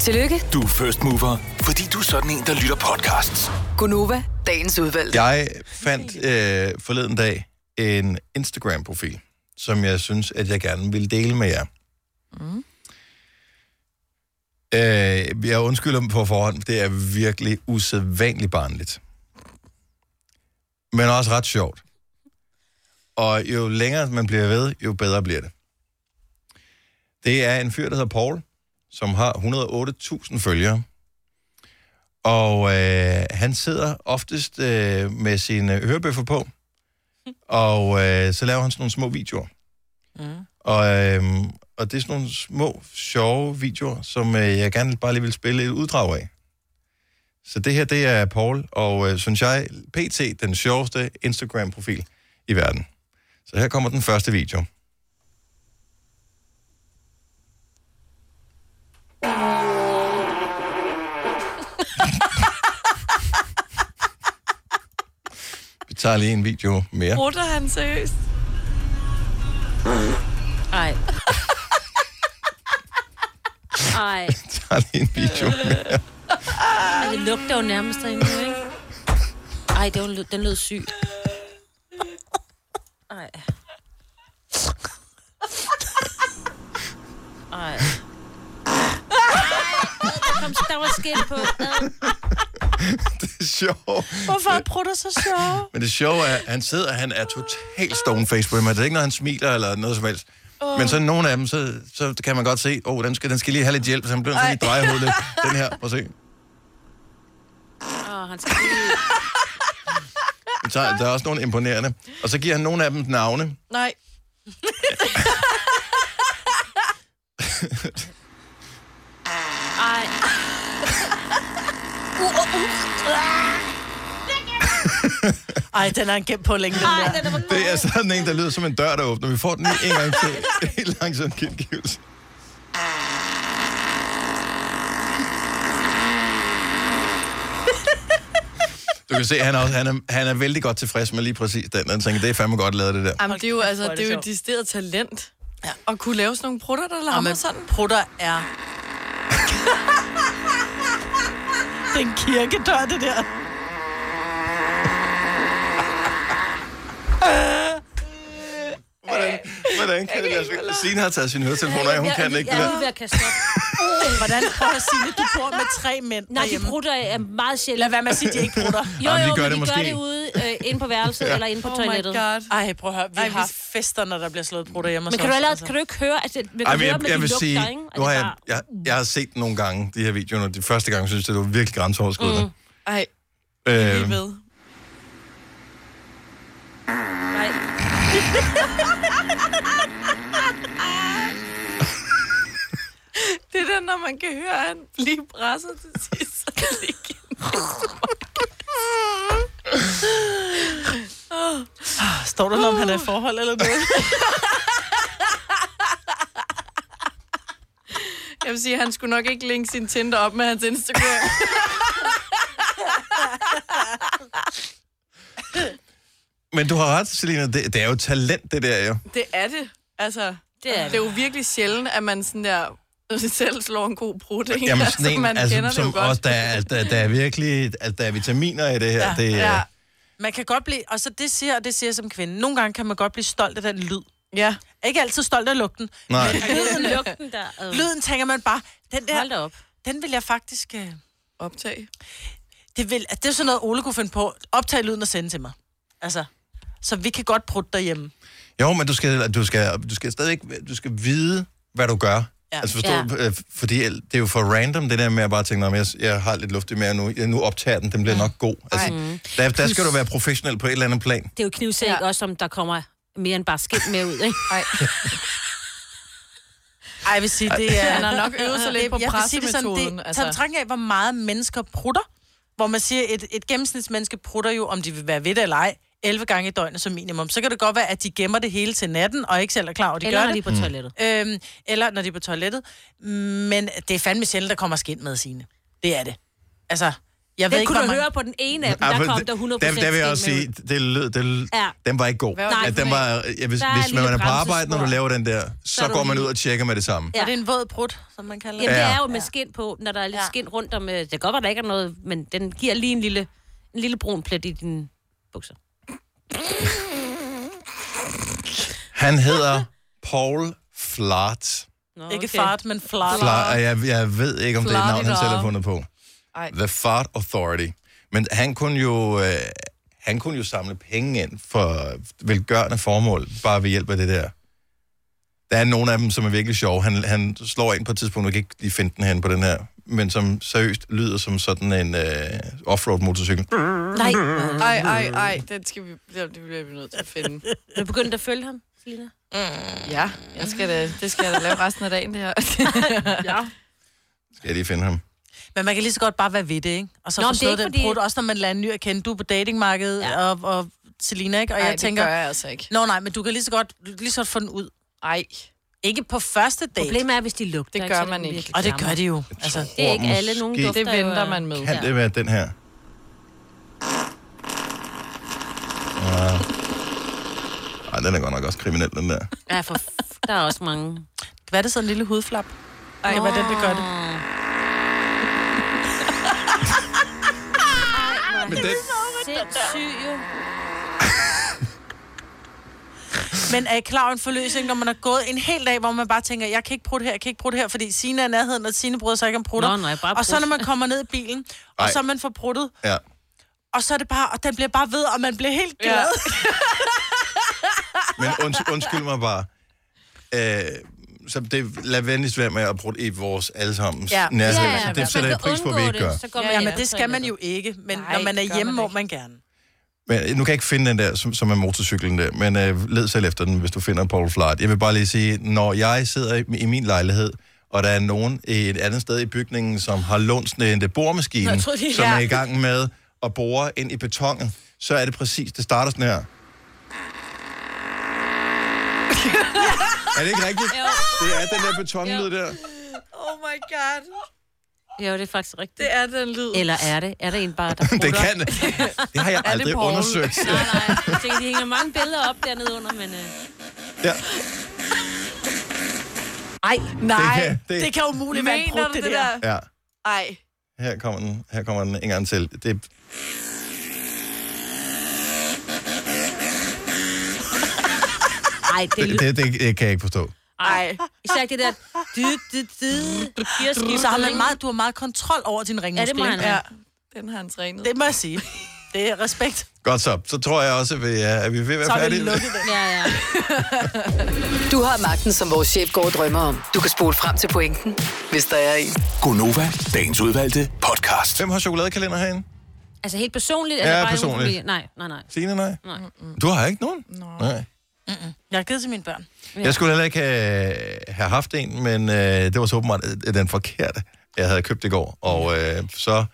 S8: Tillykke,
S5: Du er first mover, fordi du er sådan en, der lytter podcasts.
S8: Gunova, dagens udvalgte.
S1: Jeg fandt øh, forleden dag en Instagram-profil, som jeg synes, at jeg gerne ville dele med jer.
S17: Mm.
S1: Øh, jeg undskylder dem på forhånd, det er virkelig usædvanligt barnligt. Men også ret sjovt. Og jo længere man bliver ved, jo bedre bliver det. Det er en fyr, der hedder Paul, som har 108.000 følgere. Og øh, han sidder oftest øh, med sine hørebøffer på, og øh, så laver han sådan nogle små videoer.
S17: Mm.
S1: Og, øh, og det er sådan nogle små, sjove videoer, som øh, jeg gerne bare lige vil spille et uddrag af. Så det her, det er Paul, og øh, synes jeg, PT, den sjoveste Instagram-profil i verden. Så her kommer den første video. Vi tager lige en video mere.
S4: Brutter han seriøst?
S3: Ej. Ej.
S1: Der er lige en video mere.
S3: Ej, det lugter jo nærmest derinde, nu, ikke? Ej, det var, lød- den lød syg. Ej. Ej. Ej, der, kom, der var skin på. Ad.
S1: Det er sjovt.
S2: Hvorfor er prutter så sjove?
S1: Men det sjove er, at han sidder, og han er totalt stone-faced på dem. Det er ikke, når han smiler eller noget som helst.
S2: Åh.
S1: Men så nogle af dem, så, så kan man godt se, åh, oh, den, skal, den skal lige have lidt hjælp, så han bliver nødt til lige at dreje hovedet lidt. Den her, prøv at se.
S3: Åh, han skal lige...
S1: Men Så, der er også nogle imponerende. Og så giver han nogle af dem navne.
S4: Nej.
S3: Ej. Uh, uh, uh.
S2: Ej, den er en gemt på længe, den
S3: Ej,
S2: der.
S3: den er for
S1: Det er sådan en, der lyder som en dør, der åbner. Vi får den lige en gang til. Helt langsom gengivelse. Du kan se, han er, også, han, er, han er vældig godt tilfreds med lige præcis den. Han tænker, det er fandme godt lavet, det der.
S4: Jamen, det er jo, altså,
S2: hvor er
S4: det
S2: det
S4: er jo
S2: sjovt.
S4: et decideret talent. Ja. At kunne lave sådan nogle prutter, der larmer
S2: Jamen,
S4: sådan.
S2: prutter er... det er en kirkedør, det der.
S1: Hvordan, hvordan kan det lade sig? gøre? Signe har taget sine høretelefoner af, hun
S3: Jeg-
S1: kan ikke det
S3: Jeg er lige
S1: der.
S3: ved at kaste op.
S2: Hvordan prøver at sige, at du bor med tre mænd
S3: Nej, de prutter er meget sjældent. Lad
S2: være med at sige, at de ikke prutter.
S3: Jo,
S1: Jamen, de
S3: jo,
S1: gør
S3: men
S1: det
S3: de
S1: måske.
S3: gør det ude øh, inde på værelset
S1: Ja.
S3: eller inde på
S2: Oh my
S3: toilettet.
S2: God. Ej, prøv at høre, vi Ej, har fester, når der bliver slået prutter hjemme.
S3: Men kan du, allerede, kan du ikke høre, at det, kan
S1: Ej,
S3: du
S1: men
S3: høre,
S1: jeg,
S3: men
S1: jeg
S3: de
S1: vil
S3: lugter,
S1: sige,
S3: ikke? Og
S1: nu
S3: det
S1: har
S3: er
S1: jeg,
S3: bare-
S1: jeg, jeg har set den nogle gange, de her videoer, og de første gange synes jeg, det var virkelig grænseoverskridende. Mm.
S4: Ej,
S1: Øh,
S4: lige ved.
S3: Nej.
S4: det er den, når man kan høre, at han lige presser til sidst. Så kan det ikke
S2: Står der noget, om han er i forhold eller noget?
S4: Jeg vil sige, at han skulle nok ikke linke sin Tinder op med hans Instagram.
S1: Øh, men du har ret, Selina, det, det er jo talent, det der jo.
S4: det er det. Altså,
S3: det er,
S4: det. det er jo virkelig sjældent, at man sådan der øh, selv slår en god brud. ikke?
S1: Jamen sådan en,
S4: man
S1: altså,
S4: kender
S1: som
S4: det jo godt.
S1: også, der, er, der, der er virkelig, altså, der er vitaminer i det her. Ja, det, ja.
S2: Man kan godt blive, og så det siger, og det siger jeg som kvinde, nogle gange kan man godt blive stolt af den lyd.
S4: Ja.
S2: Ikke altid stolt af lugten.
S1: Nej.
S2: Men lyden,
S3: lugten der. øh.
S2: lyden tænker man bare, den der,
S3: Hold da op.
S2: den vil jeg faktisk... Øh,
S4: optage.
S2: Det, vil, at det er sådan noget, Ole kunne finde på. Optag lyden og sende til mig. Altså, så vi kan godt prutte derhjemme.
S1: Jo, men du skal, du skal, du skal stadigvæk du skal vide, hvad du gør. Ja. Altså forstå,
S2: Ja.
S1: ja. fordi det er jo for random, det der med at bare tænke, "Nå, men jeg, jeg har lidt luft i maven nu, jeg nu optager den, den bliver nok god. Altså,
S3: Mm.
S1: der, der skal du være professionel på et eller andet plan.
S3: Det er jo knivsæk ja. også, om der kommer mere end bare skidt med ud, ikke?
S4: Ej.
S2: Ej, jeg vil sige, det er...
S4: Han har nok øvet sig lidt på
S2: Jeg vil sige det sådan,
S4: pressemetoden,
S2: Det
S4: altså.
S2: tager betragtning af, hvor meget mennesker prutter. Hvor man siger, et, et gennemsnitsmenneske prutter jo, om de vil være ved det eller ej, 11 gange i døgnet som minimum. Så kan det godt være, at de gemmer det hele til natten, og ikke selv er klar over, at de
S3: Eller
S2: gør
S3: når
S2: det.
S3: de er på toilettet.
S2: Øhm, eller når de er på toilettet. Men det er fandme sjældent, der kommer skind med sine. Det er det. Altså, jeg ved
S3: det
S2: ikke,
S3: kunne
S2: hvor
S3: du
S2: mange...
S3: høre på den ene af dem,
S1: Ej,
S3: der
S1: for
S3: kom
S1: det-
S3: der 100%
S1: dem, der vil jeg også
S3: skind med
S1: sige,
S3: ud.
S1: det lød, det,
S3: Ja.
S1: den var ikke god.
S3: Hvad var det
S1: At
S3: for
S1: den
S3: en?
S1: var, ja, hvis,
S3: Der er
S1: hvis
S3: en
S1: man
S3: lille
S1: er på arbejde, når du
S3: bremsespor.
S1: laver den der, så,
S3: er
S1: så
S3: du
S1: går man
S3: lige-
S1: ud og tjekker med det samme.
S2: Ja. Er det en våd prut, som man kalder det?
S3: Jamen, det
S1: Ja.
S3: er jo med skin på, når der er lidt ja. skin rundt om... øh, Det kan godt være, der ikke er noget, men den giver lige en lille, en lille brun plet i dine bukser.
S1: Han hedder Paul Flart.
S3: Nå,
S2: Ikke fart, men flart.
S1: Flart, og jeg, jeg ved ikke, om det er et navn, han selv har
S2: Flart.
S1: fundet på.
S4: Ej.
S1: The Fart Authority. Men han kunne jo, øh, han kunne jo samle penge ind for velgørende formål, bare ved hjælp af det der. Der er nogle af dem, som er virkelig sjove. Han, han slår ind på et tidspunkt, jeg kan ikke lige finde den hen på den her, men som seriøst lyder som sådan en øh, offroad-motorcykel.
S3: Nej.
S4: Ej, ej, ej. Den skal vi, det bliver vi nødt til at finde.
S3: Er du begyndt at følge ham, Selina?
S4: Ja, jeg skal da, det skal jeg da lave resten af dagen, det her.
S2: ja.
S1: Skal jeg lige finde ham?
S2: Men man kan lige så godt bare være ved det, ikke? Og så
S3: Nå,
S2: Nå,
S3: men det er
S2: forstå
S3: ikke
S2: den
S3: fordi-
S2: fordi... prut, også når man lader en ny at kende. Du er på datingmarkedet, ja. og, og Selina, ikke? Og
S4: Ej,
S2: jeg
S4: det
S2: tænker,
S4: gør jeg altså ikke.
S2: Nå nej, men du kan lige så godt, du kan lige så godt få den ud.
S4: Ej.
S2: Ikke på første date.
S3: Problemet er, hvis de lugter.
S4: Det
S3: ikke,
S4: gør
S3: så er det
S4: man ikke.
S3: virkelig
S2: Og det
S3: klammer.
S2: gør de jo. Altså,
S3: Det er ikke alle, nogen
S1: Måske-
S3: dufter
S4: Det venter man med.
S1: Kan det være den her? Ja. Ah. Ej, den er godt nok også kriminel, den der.
S3: Ja, for f- der er også mange.
S2: Hvad er det så en lille hudflap? Ej, hvad er det, det gør det?
S1: Men den,
S3: Sindssyg jo.
S2: Men er I klar over en forløsning, når man har gået en hel dag, hvor man bare tænker, jeg kan ikke prutte her, jeg kan ikke prutte her, fordi Sina er i nærheden, og Sine bryder sig ikke om prutter.
S3: Nå, nej, bare
S2: og så
S3: prut.
S2: når man kommer ned i bilen, og
S1: Ej.
S2: så man får pruttet,
S1: ja.
S2: og så er det bare, og den bliver bare ved, og man bliver helt glad.
S1: Men unds- undskyld mig bare. Øh, så det, lad venligst være med at bruge i vores allesammens ja. nærhed. Ja, ja, ja. Det sætter jeg pris på, at vi ikke gør.
S2: Ja, ja, men det skal man jo ikke. Men Nej, når man er hjemme, må man gerne.
S1: Men øh, nu kan jeg ikke finde den der, som, som er motorcyklen der, men øh, led selv efter den, hvis du finder en Paul Flart. Jeg vil bare lige sige, når jeg sidder i, i min lejlighed, og der er nogen et andet sted i bygningen, som har lånt sådan en boremaskine,
S17: Jeg troede, de-
S1: som er
S17: Ja.
S1: i gang med at bore ind i betongen, så er det præcis, det starter sådan her. Er det ikke rigtigt?
S4: Jo.
S1: Det er den der betonlyd der.
S4: Oh my god.
S3: Jo, det er faktisk rigtigt.
S4: Det er den lyd.
S3: Eller er det? Er det en bare, der
S1: Det kan det. Det har jeg
S3: Er det
S1: aldrig
S3: Paul?
S1: undersøgt.
S3: Nej, nej. Det, de hænger mange billeder op dernede under, men... Øh...
S1: Ja.
S3: Ej,
S1: nej. Det kan- det- Det kan
S4: umuligt
S2: være en
S4: Mener
S2: prut,
S4: du
S2: det
S4: det
S2: der.
S4: der?
S1: Ja,
S4: Ej.
S1: her kommer den, her kommer den en gang til. Det,
S3: Ej, det
S1: det,
S3: lyder...
S1: det, det, det kan jeg ikke forstå.
S3: Ej. Især ikke det der... Dy, dy, dy, gearskifte.
S2: Så har man meget, du har meget kontrol over din ringmuskel.
S3: Mm. Ja, det må han
S2: ikke?
S3: have.
S4: Den har han trænet.
S2: Det må jeg sige. Det er respekt.
S1: Godt så. Så tror jeg også, at vi er, at vi er ved at være færdige.
S3: Ja, ja.
S8: Du har magten, som vores chef går og drømmer om. Du kan spole frem til pointen, hvis der er en.
S5: Gonova, dagens udvalgte podcast.
S1: Hvem har chokoladekalender herinde?
S3: Altså helt personligt? er
S1: Ja,
S3: det bare
S1: personligt.
S3: Nogen, nej, nej, nej.
S1: Signe, nej?
S3: nej.
S1: Du har ikke nogen? Nej.
S2: Jeg har givet til mine børn.
S1: Jeg skulle heller ikke have, have haft en, men øh, det var så åbenbart øh, den forkerte, jeg havde købt i går. Og øh, så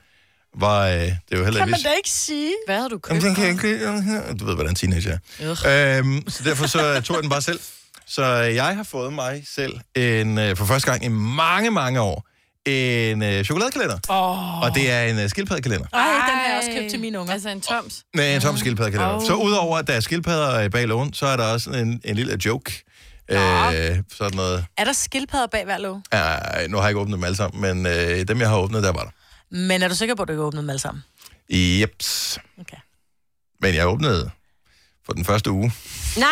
S1: var øh, det jo heller
S2: Kan
S1: ikke...
S2: man da ikke sige?
S4: Hvad har du
S1: Jamen, den kan jeg ikke lide. øh, Du ved, hvordan teenager er. Øhm, så derfor så tog jeg den bare selv. Så øh, jeg har fået mig selv en, øh, for første gang i mange, mange år en øh, chokoladekalender.
S2: Åh.
S1: Og det er en øh, skildpaddekalender.
S2: Ej, den har jeg også købt til mine unger.
S4: Altså en toms.
S1: Nej, en tom skildpaddekalender.
S2: Au.
S1: Så udover at der er skildpadder øh, bag lågen, så er der også en, en lille joke. Øh, sådan noget.
S2: Er der skildpadder bag hver låg?
S1: Ja, nu har jeg ikke åbnet dem alle sammen, men øh, dem, jeg har åbnet, der var der.
S2: Men er du sikker på, at du ikke har åbnet dem alle sammen?
S1: Jeps.
S2: Okay.
S1: Men jeg åbnede for den første uge.
S3: Nej.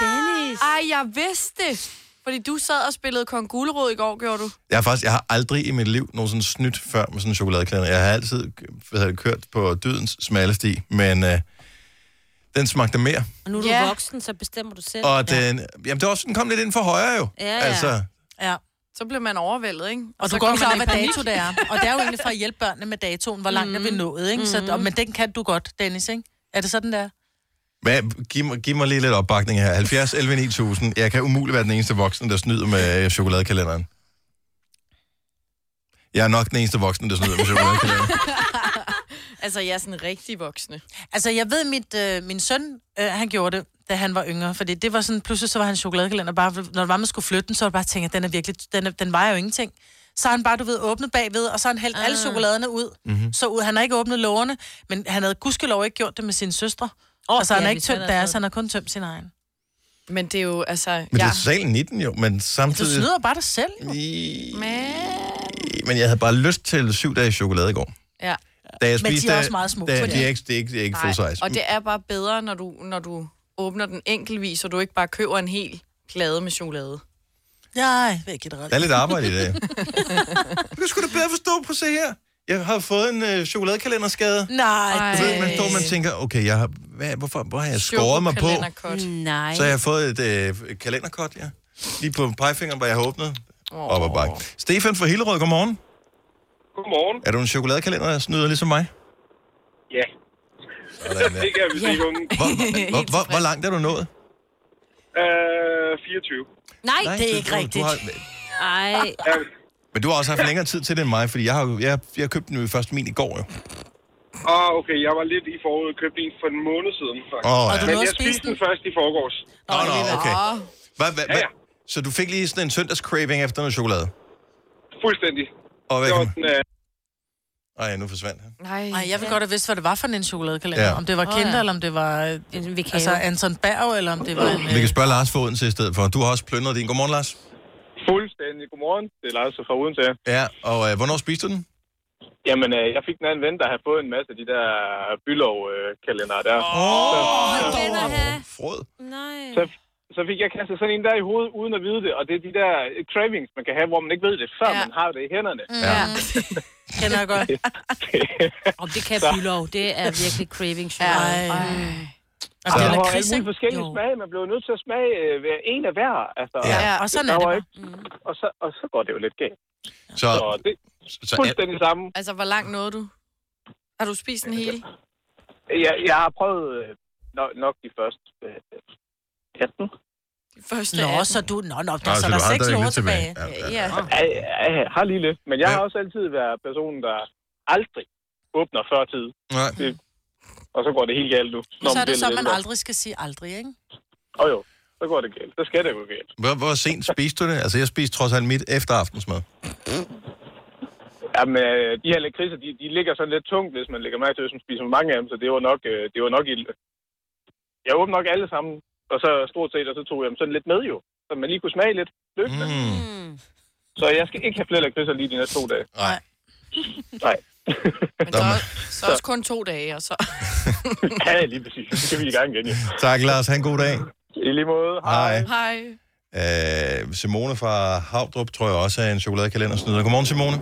S3: Dennis.
S4: Ej, jeg vidste det. Fordi du sad og spillede Kong Gulerod i går, gjorde du?
S1: Jeg har faktisk, jeg har aldrig i mit liv nogensinde snydt før med sådan en chokoladeklæder. Jeg har altid hvad hedder det, kørt på dydens smalle sti, men øh, den smagte mere.
S3: Og nu er du
S4: Ja.
S3: ja. voksen, så bestemmer du selv.
S1: Og den, jamen det var også, den kom lidt ind for højre jo.
S4: Ja, ja.
S1: Altså,
S2: Ja.
S4: Så blev man overvældet, ikke?
S2: Og
S4: så
S2: du går
S4: kom
S2: ikke klar,
S4: man
S2: hvad
S4: i panik.
S2: dato det er. Og det er jo egentlig for at hjælpe børnene med datoen, hvor langt mm. er vi nået, ikke? Så, og, men den kan du godt, Dennis, ikke? Er det sådan, der?
S1: hvad, giv, mig, giv mig lige lidt opbakning her. 70 11 9000. Jeg kan umuligt være den eneste voksen, der snyder med øh, chokoladekalenderen. Jeg er nok den eneste voksen, der snyder med chokoladekalenderen.
S4: Altså, jeg er sådan rigtig voksne.
S2: Altså, jeg ved, mit, øh, min søn, øh, han gjorde det, da han var yngre. Fordi det var sådan, pludselig så var han chokoladekalender. Bare, når det var, man skulle flytte den, så var det bare tænkt, at den, er virkelig, den, er, den vejer jo ingenting. Så har han bare, du ved, åbnet bagved, og så har han hældt alle chokoladerne ud.
S1: Mhm.
S2: Så ud. Han har ikke åbnet lårene, men han havde gudskelov ikke gjort det med sine søstre. Oh, altså, han
S4: ja,
S2: har ikke
S4: hvis han
S2: tømt
S4: havde
S2: deres,
S4: fået-
S2: han har kun tømt sin egen.
S4: Men det er jo, altså...
S1: Men det
S4: ja.
S1: er totalt 19 jo, men
S2: Du
S1: samtidig...
S2: snyder bare dig selv.
S1: Men jeg havde bare lyst til syv dage chokolade i går.
S4: Ja.
S1: Da jeg
S4: Men de
S1: spiste,
S4: er også meget små,
S1: Da,
S4: fordi-
S1: de er ikke, det er ikke, det er ikke full size.
S4: Og det er bare bedre, når du, når du åbner den enkeltvis, og du ikke bare køber en hel plade med chokolade.
S2: Nej, det er generelt.
S1: Der er lidt arbejde i dag. Det skulle du bedre forstå, på se her. Jeg har fået en øh, chokoladekalenderskade.
S2: Nej.
S1: Du ved, man står man tænker, okay, jeg har, hvad, hvorfor, hvor har jeg skåret mig på?
S2: Mm.
S3: Nej.
S1: Så har jeg fået et, øh, et kalenderkort, ja. Lige på pegefingeren, hvor jeg har åbnet. Oh. Op og bakke. Stefan fra Hillerød, godmorgen.
S11: Godmorgen.
S1: Er du en chokoladekalender, der snyder ligesom mig?
S11: Ja.
S1: Sådan, ja.
S11: det kan vi se, unge.
S1: Hvor, hvor, hvor, hvor langt er du nået?
S11: Øh, 24.
S3: Nej,
S1: Nej,
S3: det er
S1: du-
S3: ikke
S1: du- du
S3: rigtigt. Ej.
S1: Men du har også haft længere tid til det end mig, fordi jeg har, jo- jeg, jeg købte den jo først min i går jo.
S11: Ah, okay, jeg var lidt i forud og købte en for en måned siden. faktisk.
S1: Åh, ja. Og du
S11: Men
S1: nåede
S11: jeg
S1: at spise
S11: spiste den først i forgårs.
S1: Nå, nå, okay. Hva, hva, hva? Så du fik lige sådan en søndags craving efter noget chokolade?
S11: Fuldstændig.
S1: Og hvad
S11: Det var
S1: kan-
S11: sådan, øh,
S1: Ej, nu forsvandt han.
S4: Nej,
S2: Ej, jeg vil godt have vidst, hvad det var for en chokoladekalender.
S1: Ja.
S2: Ja. Om det var
S4: Åh,
S2: Kinder,
S4: ja.
S2: eller om det var øh, altså, Anton Berg, eller om det var... En,
S1: Vi kan spørge Lars for Odense i stedet for. Du har også plyndret din. Godmorgen, Lars.
S17: Fuldstændig. Godmorgen. Det er Lars fra Odense. her.
S1: Ja, og øh, hvornår spiste du den?
S17: Jamen, øh, jeg fik den af en ven, der har fået en masse af de der
S11: øh,
S17: bylov-kalender der.
S1: Åh,
S17: Så,
S1: frød.
S3: Nej.
S17: Så, så fik jeg kastet sådan en der i hovedet, uden at vide det. Og det er de der cravings, man kan have, hvor man ikke ved det, før ja. man har det i hænderne.
S2: Mm.
S3: Ja.
S2: øh,
S3: Kender jeg godt. Og det kan
S17: Så.
S3: Bylov. Det er virkelig craving show.
S17: Ej.
S3: Og det er
S17: der var
S3: lakrids,
S17: alle mulige
S3: ikke?
S17: forskellige
S3: Jo.
S17: smage. Man blev nødt til at smage øh, hver en af hver. Altså,
S1: Ja.
S2: Ja, og sådan
S17: der
S2: er det
S17: var
S2: bare.
S17: ikke- Og så, og så går det jo lidt galt.
S1: Så,
S17: så det
S1: så
S17: er fuldstændig samme.
S4: Altså, hvor langt nåede du? Har du spist den hele?
S17: Jeg, jeg har prøvet øh, nok, nok de første øh, 18.
S4: De første
S2: Nå,
S4: 18.
S2: så du... Nå, nå, der,
S17: Nå,
S2: så
S17: så
S2: der
S17: du
S2: er
S17: har
S2: seks
S17: stadig
S2: år
S17: lidt tilbage.
S2: tilbage.
S17: Ja,
S4: ja.
S17: Jeg, jeg, jeg har lige lidt, men jeg har også altid været personen, der aldrig åbner før tid.
S1: Nej.
S17: Det, og så går det helt galt nu.
S2: Men så er det
S17: bliver
S2: så,
S17: lidt
S2: man
S17: ældre.
S2: aldrig skal sige aldrig, ikke?
S17: Åh jo, så går det galt. Så skal det jo galt.
S1: Hvor, hvor sent spiste du det? Altså, jeg spiste trods alt mit efter aftensmad.
S17: Jamen, øh, de her lakridser, de, de ligger sådan lidt tungt, hvis man lægger mærke til, hvis man spiser mange af dem, så det var nok, øh, det var nok ild. Jeg åbnede nok alle sammen, og så stort set, og så tog jeg dem sådan lidt med jo, så man lige kunne smage lidt løbende.
S1: Mm.
S17: Så jeg skal ikke have flere lakridser lige de næste to dage.
S1: Nej.
S17: Nej.
S4: Men så, så også kun to dage, og så...
S17: ja, lige præcis. Så kan vi i gang igen, jo.
S1: Tak, Lars. Ha' en god dag.
S17: I lige måde.
S1: Hej.
S4: Hej.
S1: Øh, Simone fra Havdrup tror jeg også er en chokoladekalendersnyder. Godmorgen, Simone.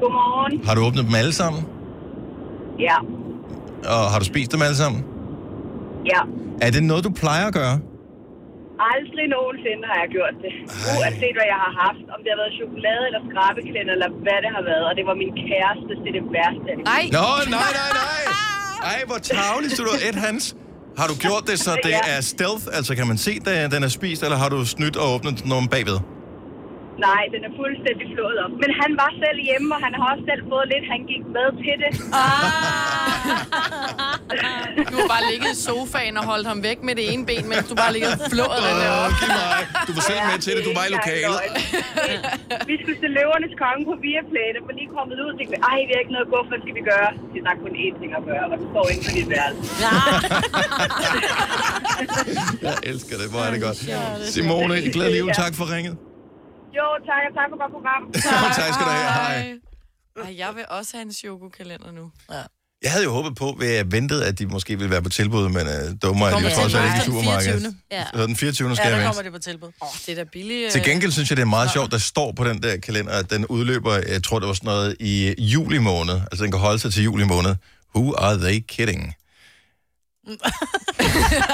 S18: Godmorgen.
S1: Har du åbnet dem alle sammen?
S18: Ja,
S1: Og har du spist dem alle sammen?
S18: ja.
S1: Er det noget, du plejer at gøre?
S18: Aldrig nogensinde har jeg gjort det. Uanset hvad jeg har haft, om det har været chokolade eller skrabeklænder eller hvad det har været. Og det var min kæreste, det er det værste.
S4: Nej.
S1: Nå, nej, nej, nej. Ej, hvor tavligt, du er et hans. Har du gjort det, så det
S18: Ja.
S1: er stealth? Altså, kan man se, at den er spist, eller har du snydt og åbnet den om bagved?
S18: Nej, den er fuldstændig flået op. Men han var selv hjemme, og han har også selv fået lidt, han gik med til det.
S4: Du har bare ligget i sofaen og holdt ham væk med det ene ben, mens du bare ligger og flået den der op.
S1: Du var selv med til det, du var i lokalet.
S18: vi skulle til løvernes konge på Viaplay, der var lige kommet ud og tænkte, vi, ej, vi har ikke noget at gå for, hvad skal vi gøre? Det er der er kun én ting at gøre, og du står inde på dit værelse.
S1: Jeg elsker det, hvor er det godt. Simone, i glæder liv. Tak for ringet.
S18: Jo, tak, og tak for godt program.
S1: Tak skal du have. Hej.
S4: Ej, jeg vil også have en chokokalender nu. Ja.
S1: Jeg havde jo håbet på, at jeg ventede, at de måske ville være på tilbud, men øh, dummer er de
S4: Kommer
S1: jo
S4: til
S1: trods alt ikke i
S4: mig.
S1: supermarkedet.
S4: 24.. Ja.
S1: Så den 24. skal
S4: Ja,
S1: jeg
S4: der
S1: vente.
S4: kommer det på tilbud. Åh, oh, det er da billigt.
S1: Til gengæld synes jeg, det er meget sjovt, der står på den der kalender, at den udløber, jeg tror, det var sådan noget i juli måned. Altså, den kan holde sig til juli måned. Who are they kidding?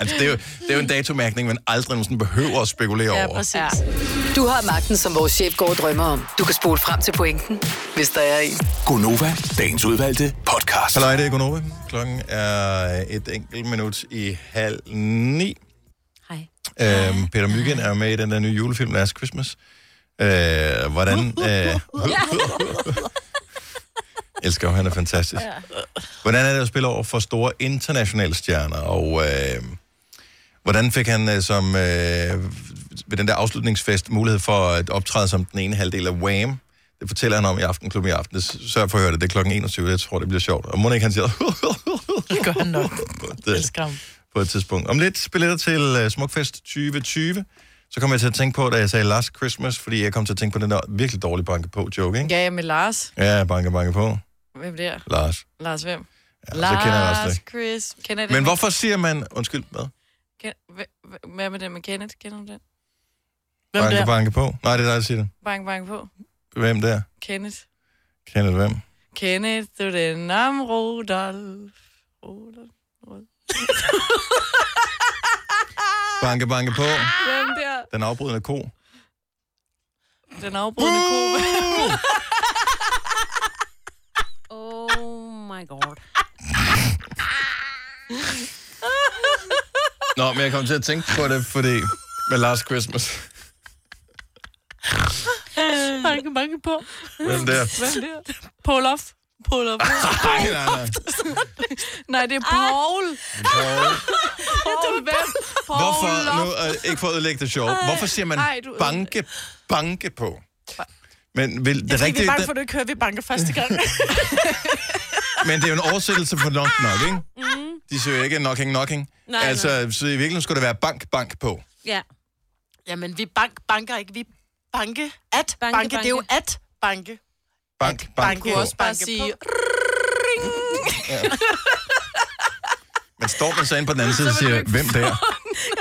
S1: Altså, det er jo, det er jo en datomærkning, man aldrig nogensinde behøver at spekulere over.
S8: Ja. Du har magten, som vores chef går og drømmer om. Du kan spole frem til pointen, hvis der er en.
S5: Gonova, dagens udvalgte podcast.
S1: Hej, det er Gunova. Klokken er et enkelt minut i halv ni. Hej. Øhm, Peter Myggen er med i den der nye julefilm, Last Christmas. Øh, hvordan... Øh, elsker ham, han er fantastisk. Hvordan er det at spille over for store internationale stjerner, og øh, hvordan fik han øh, som øh, ved den der afslutningsfest mulighed for at optræde som den ene halvdel af Wham? Det fortæller han om i Aftenklubben i aften. Det s- Sørg for at høre det. Det er klokken 21. Jeg tror, det bliver sjovt. Og må ikke han siger... det gør han nok. Det
S2: Skram.
S1: på et tidspunkt. Om lidt billetter til uh, Smukfest 2020. Så kom jeg til at tænke på, da jeg sagde Last Christmas, fordi jeg kom til at tænke på den der virkelig dårlige banke på joke, ikke?
S4: Ja, ja, med Lars.
S1: Ja, banke, banke på.
S4: Hvem der?
S1: Lars.
S4: Lars hvem? Ja,
S1: så kender jeg Lars det.
S4: Chris. Kender jeg den?
S1: Men hvorfor siger man... Undskyld, hvad?
S4: Ken- hv- hv- Hvad med den med Kenneth? Kender du den?
S1: Banke, banke på? Nej, det er dig, der siger det.
S4: Bang, bang på.
S1: Hvem der?
S4: Kenneth.
S1: Kender du hvem?
S4: Kenneth, du er den om Rudolf. Rudolf. Rudolf.
S1: Banke, banke på.
S4: Hvem der?
S1: Den afbrydende ko.
S4: Den afbrudte ko.
S3: Oh my god.
S1: Nå, men jeg kom til at tænke på det, fordi... Med Last Christmas.
S2: Banke, banke på.
S1: Hvem der?
S4: Hvem der? Paul off. Paul off.
S1: Nej, nej, nej.
S4: nej, det er Paul.
S1: Paul.
S4: Paul, hvem? Paul
S1: Hvorfor, nu,
S4: Loft.
S1: øh, ikke for at ødelægge det sjov,
S4: Ej,
S1: hvorfor siger man
S4: ej, du-
S1: banke, banke på? Men, vil, det,
S2: Det er
S1: det,
S2: fordi, vi
S1: rigtige,
S2: er bange
S1: den,
S2: for, at du ikke hører, at vi banker første gang.
S1: men det er jo en oversættelse for knock knock, ikke?
S3: Mm.
S1: De siger jo ikke knocking knocking.
S2: Mm-hmm. Nej,
S1: altså, så i virkeligheden skulle der være bank bank på.
S3: Ja.
S2: Jamen, vi bank, banker ikke. Vi banke at banke. banke. Det er jo at banke.
S1: Bank bank,
S2: Bank
S1: på.
S2: kunne også bare sige...
S1: Men står man så inde på den anden side og siger, hvem der?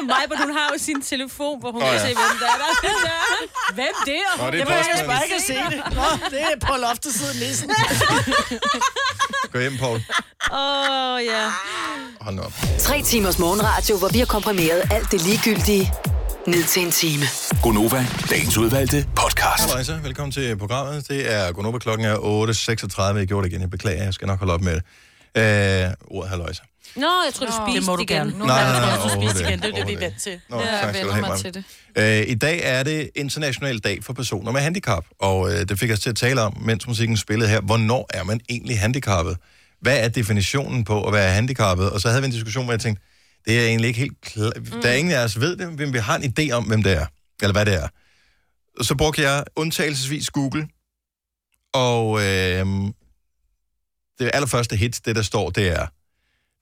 S3: Majbert, hun har jo sin telefon, hvor hun
S1: Nå,
S3: kan
S1: ja.
S3: se, hvem der er. Der er Søren. Hvem det er?
S1: Nå, det er
S2: Jeg
S1: postmanden.
S2: behøver bare ikke at se det. Nå, det er på loftet siden nissen.
S1: Gå hjem, Paul.
S3: Åh, oh, ja.
S1: Hold nu op.
S8: Tre timers morgenradio, hvor vi har komprimeret alt det ligegyldige ned til en time.
S5: Gonova, dagens udvalgte podcast.
S1: Hej så, velkommen til programmet. Det er Gunova, klokken er 8.36. Jeg gjorde det igen, jeg beklager, jeg skal nok holde op med det. Øh, ordet halløjsa.
S3: Nå, jeg tror, du
S2: Nå,
S3: spiste
S2: det må du
S3: igen.
S2: gerne.
S3: Nu
S1: Nej, nej,
S3: har
S1: nej,
S3: jeg
S1: nej,
S3: også spist
S1: overhovedet
S3: igen. Det er jo det, vi
S1: ikke.
S3: er vant til.
S1: Nå, tak skal du have, Maja. Øh, I dag er det International Dag for Personer med Handicap, og øh, det fik os til at tale om, mens musikken spillede her, hvornår er man egentlig handicappet? Hvad er definitionen på at være handicappet? Og så havde vi en diskussion, hvor jeg tænkte, det er egentlig ikke helt klart. Mm. Der er ingen af os ved det, men vi har en idé om, hvem det er, eller hvad det er. Og Så brugte jeg undtagelsesvis Google, og øh, det allerførste hit, det der står, det er,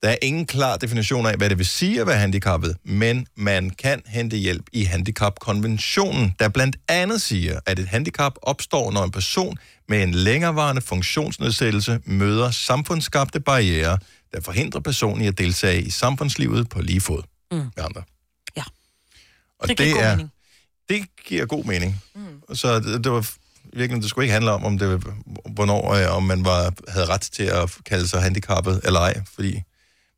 S1: der er ingen klar definition af, hvad det vil sige at være handicappet, men man kan hente hjælp i handicapkonventionen, der blandt andet siger, at et handicap opstår, når en person med en længerevarende funktionsnedsættelse møder samfundsskabte barriere, der forhindrer personen i at deltage i samfundslivet på lige fod mm. med andre.
S3: Ja.
S1: Og
S2: Det
S1: det,
S2: giver
S1: det
S2: god
S1: er,
S2: mening.
S1: det giver god mening. Mm. Så det, det var virkelig, det skulle ikke handle om, om det, hvornår, øh, om man var, havde ret til at kalde sig handicappet eller ej, fordi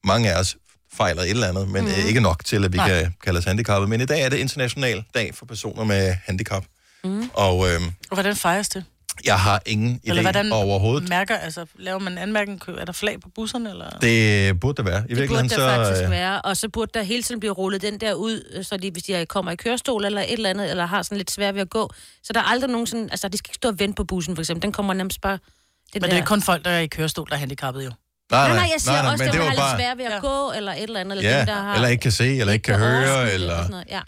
S1: mange af os fejler et eller andet, men
S3: Mhm.
S1: mm. ikke nok til, at vi
S5: Nej.
S1: Nej. kan kalde os handicappede. Men i dag er det international dag for personer med handicap,
S3: Mhm.
S2: Mm.
S1: og øh,
S2: Og hvordan fejres det?
S1: jeg har ingen idé
S2: Eller hvordan
S1: overhovedet.
S2: Mærker, altså, laver man anmærken, er der flag på busserne, eller?
S1: Det burde der være. I
S3: Det burde
S1: virkeligheden
S3: der
S1: så...
S3: faktisk
S1: øh,
S3: være, og så burde der hele tiden blive rullet den der ud, øh, så de, hvis de kommer i kørestol eller et eller andet, eller har sådan lidt svært ved at gå, så der er aldrig nogen sådan, altså de skal ikke stå og vente på bussen for eksempel, den kommer nærmest bare...
S2: Men det er ikke kun folk, der er i kørestol, der er handicappede jo.
S1: Nej,
S3: nej,
S1: nej,
S3: nej, jeg siger
S1: nej, nej,
S3: også,
S1: men
S3: dem,
S1: det
S3: der
S1: var
S3: har
S1: bare-
S3: lidt svært ved at gå, eller et eller andet, eller
S1: ja,
S3: dem, der har...
S1: eller ikke kan se, eller ikke kan høre,
S3: Og
S1: eller...
S3: sådan noget. Ja.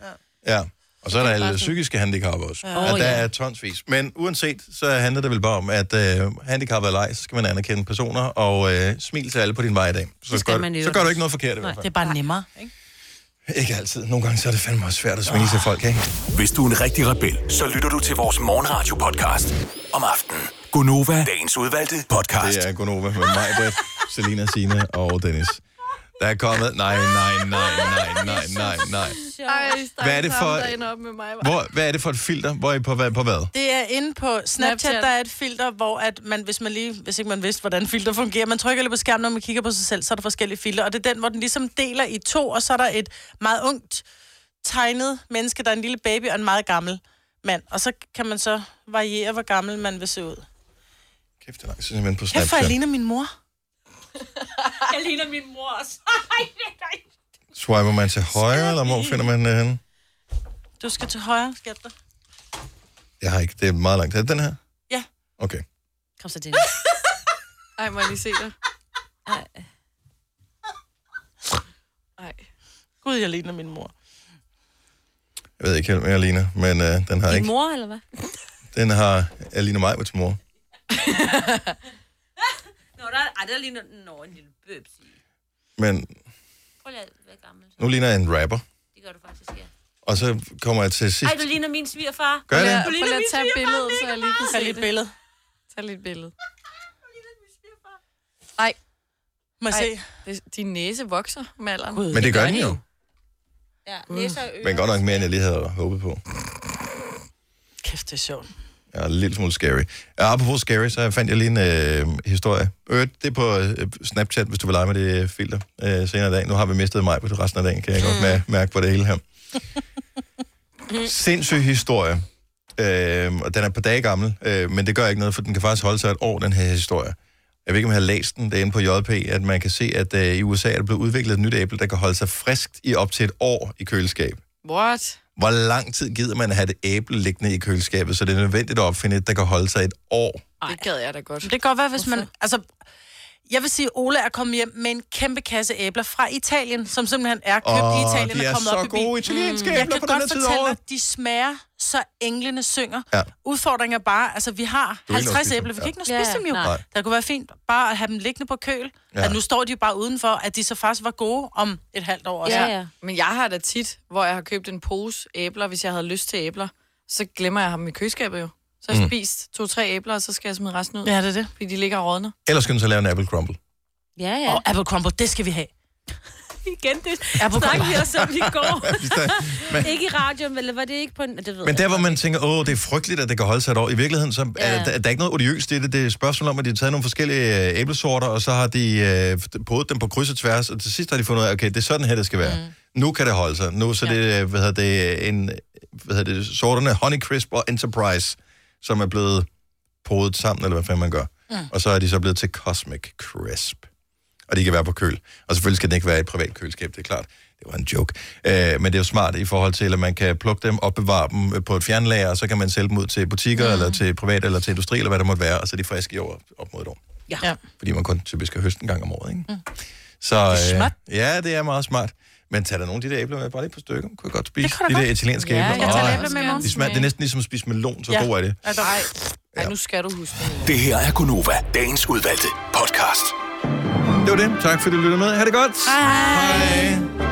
S1: Ja. Og så er der
S3: bare
S1: alle
S3: sådan-
S1: psykiske handicap også.
S3: Ja.
S1: Ja.
S3: Åh,
S1: Og der
S3: ja.
S1: er tonsvis. Men uanset, så handler det vel bare om, at øh, handicap eller ej, så skal man anerkende personer og øh, smil til alle på din vej i dag. Så, gør, du- så gør du ikke noget forkert i hvert
S2: Nej, det er
S1: fald.
S2: bare nemmere. Ikke?
S1: Ikke altid. Nogle gange så er det fandme også svært at smile til folk, ikke?
S5: Hvis du er en rigtig rebel, så lytter du til vores morgenradio-podcast om aftenen. Gonova, dagens udvalgte podcast.
S1: Det er Gonova med mig, Britt, Selina, Sine og Dennis. Der er kommet... Nej, nej, nej, nej, nej, nej, nej.
S4: Ej,
S1: Hvad er det for...
S4: Op med mig,
S1: Hvor, hvad er det for et filter? Hvor er I på, hvad, på hvad?
S2: Det er inde på Snapchat,
S4: Snapchat.
S2: der er et filter, hvor at man, hvis, man lige, hvis ikke man vidste, hvordan filter fungerer, man trykker lidt på skærmen, når man kigger på sig selv, så er der forskellige filter, og det er den, hvor den ligesom deler i to, og så er der et meget ungt tegnet menneske, der er en lille baby og en meget gammel mand, og så kan man så variere, hvor gammel man vil se ud.
S1: Kæft, det er langt siden, jeg er inde på
S2: Kæft, for jeg
S1: Snapchat.
S2: ligner min mor.
S3: Jeg ligner min mor også.
S1: Swiper man til højre, eller hvor finder man den henne?
S2: Du skal til højre, skat dig.
S1: Jeg har ikke... Det er meget langt. Er det den her?
S2: Ja.
S1: Okay.
S3: Kom så, Dennis.
S4: Ej, må jeg lige se dig.
S3: Ej.
S4: Ej.
S2: Gud, jeg ligner min mor.
S1: Jeg ved ikke helt, hvad jeg ligner, men øh, den har
S3: Din
S1: ikke...
S3: mor, eller hvad?
S1: Den har... Jeg ligner mig med til mor.
S3: Nå, der, ej, der ligner... Nå, en lille bøbs.
S1: Men
S3: Prøv lige at være gammel.
S1: nu ligner jeg en rapper.
S3: Det gør du faktisk, ja.
S1: Og så kommer jeg til sidst.
S3: Ej, du ligner min svigerfar.
S1: Gør jeg det?
S4: Prøv lige at tage et billede, så jeg lige kan se
S2: Tag lige et
S4: det.
S2: billede.
S4: Tag lige et billede. Ej.
S2: Må jeg
S4: se? Det, din næse vokser med alderen.
S1: Men det, gør den jo.
S3: Ja, næser og
S1: Mm. Men godt nok mere, end jeg lige havde håbet på.
S2: Kæft, det er sjovt.
S1: Ja, en lille smule scary. Ja, apropos scary, så fandt jeg lige en øh, historie. Øh, det er på øh, Snapchat, hvis du vil lege med det øh, filter øh, senere i dag. Nu har vi mistet mig på resten af dagen, kan jeg godt mær- mærke på det hele her. Sindssyg historie. Øh, og den er på dage gammel, øh, men det gør ikke noget, for den kan faktisk holde sig et år, den her historie. Jeg ved ikke, om jeg har læst den, det er inde på JP, at man kan se, at øh, i USA er der blevet udviklet et nyt æble, der kan holde sig friskt i op til et år i køleskab.
S4: What?
S1: Hvor lang tid gider man at have det æble liggende i køleskabet, så det er nødvendigt at opfinde et, der kan holde sig et år?
S4: Det gad jeg da godt.
S2: Det kan godt være, hvis man... Altså, Jeg vil sige, at Ola er kommet hjem med en kæmpe kasse æbler fra Italien, som simpelthen er købt i
S1: Åh,
S2: Italien
S1: de er
S2: og kommet
S1: så
S2: op i Mm.
S1: gode italienske æbler
S2: Jeg kan
S1: på den
S2: godt
S1: her tid af
S2: fortælle
S1: året.
S2: dig, de smager, så englene synger.
S1: Ja.
S2: Udfordringen er bare, altså vi har
S1: Du er ikke noget at
S2: 50
S1: spise
S2: æbler, vi
S1: dem.
S2: kan ikke nå
S3: Ja.
S2: spise dem jo.
S1: Nej.
S2: Der kunne være fint bare at have dem liggende på køl.
S1: Ja.
S2: Ja. At nu står de jo bare udenfor, at de så faktisk var gode om et halvt år. Også.
S4: Ja, ja. Men jeg har da tit, hvor jeg har købt en pose æbler, hvis jeg havde lyst til æbler, så glemmer jeg ham i køleskabet jo. Så har jeg
S1: Mm.
S4: spist to-tre æbler, og så skal jeg smide resten ud.
S2: Ja, det er det.
S4: Fordi de ligger og rådner.
S1: Ellers kan du så lave en apple crumble.
S3: Ja, ja.
S2: Og apple crumble, det skal vi have.
S3: Igen, det
S2: Apple
S3: snakker
S2: crumble.
S3: vi også om i går.
S1: Men-
S3: ikke i radioen, eller var det ikke på en... Det ved
S1: Men
S3: jeg
S1: der, hvor man tænker, åh, det er frygteligt, at det kan holde sig et år. I virkeligheden, så er
S3: Ja.
S1: der, der er ikke noget odiøst i det. Det er et spørgsmål om, at de har taget nogle forskellige øh, æblesorter, og så har de øh, podet dem på kryds og tværs, og til sidst har de fundet ud af, okay, det er sådan her, det skal være. Mm. Nu kan det holde sig. Nu så ja. det, øh, hvad hedder det, en, hvad hedder det, sorterne Honeycrisp og Enterprise, som er blevet podet sammen, eller hvad fanden man gør. Mm.
S13: Mm.
S1: Og så er de så blevet til Cosmic Crisp. Og de kan være på køl. Og selvfølgelig skal den ikke være i et privat køleskab, det er klart. Det var en joke. Øh, men det er jo smart i forhold til, at man kan plukke dem, opbevare dem øh, på et fjernlager, og så kan man sælge dem ud til butikker, mm. eller til privat, eller til industri, eller hvad det måtte være, og så er de friske i over op mod et år.
S2: Ja. ja.
S1: Fordi man kun typisk har høst en gang om året, ikke?
S2: Mm.
S1: Så, det
S2: er smart.
S1: Øh, ja, det er meget smart. Men tag da nogle af de der æbler med, bare lige på stykker. Kunne jeg godt spise
S4: kunne
S1: de
S4: da
S1: der
S4: godt.
S1: italienske
S4: Ja,
S1: æbler.
S4: jeg tager
S1: Åh,
S4: æbler med i morgen.
S1: de smager, det er næsten ligesom at spise melon, så ja. god er det.
S4: Ja, Ej. Ej, nu skal du huske det.
S5: Det her er Gunova, dagens udvalgte podcast.
S1: Det var det. Tak fordi du lyttede med. Ha' det godt. Hej. Hej.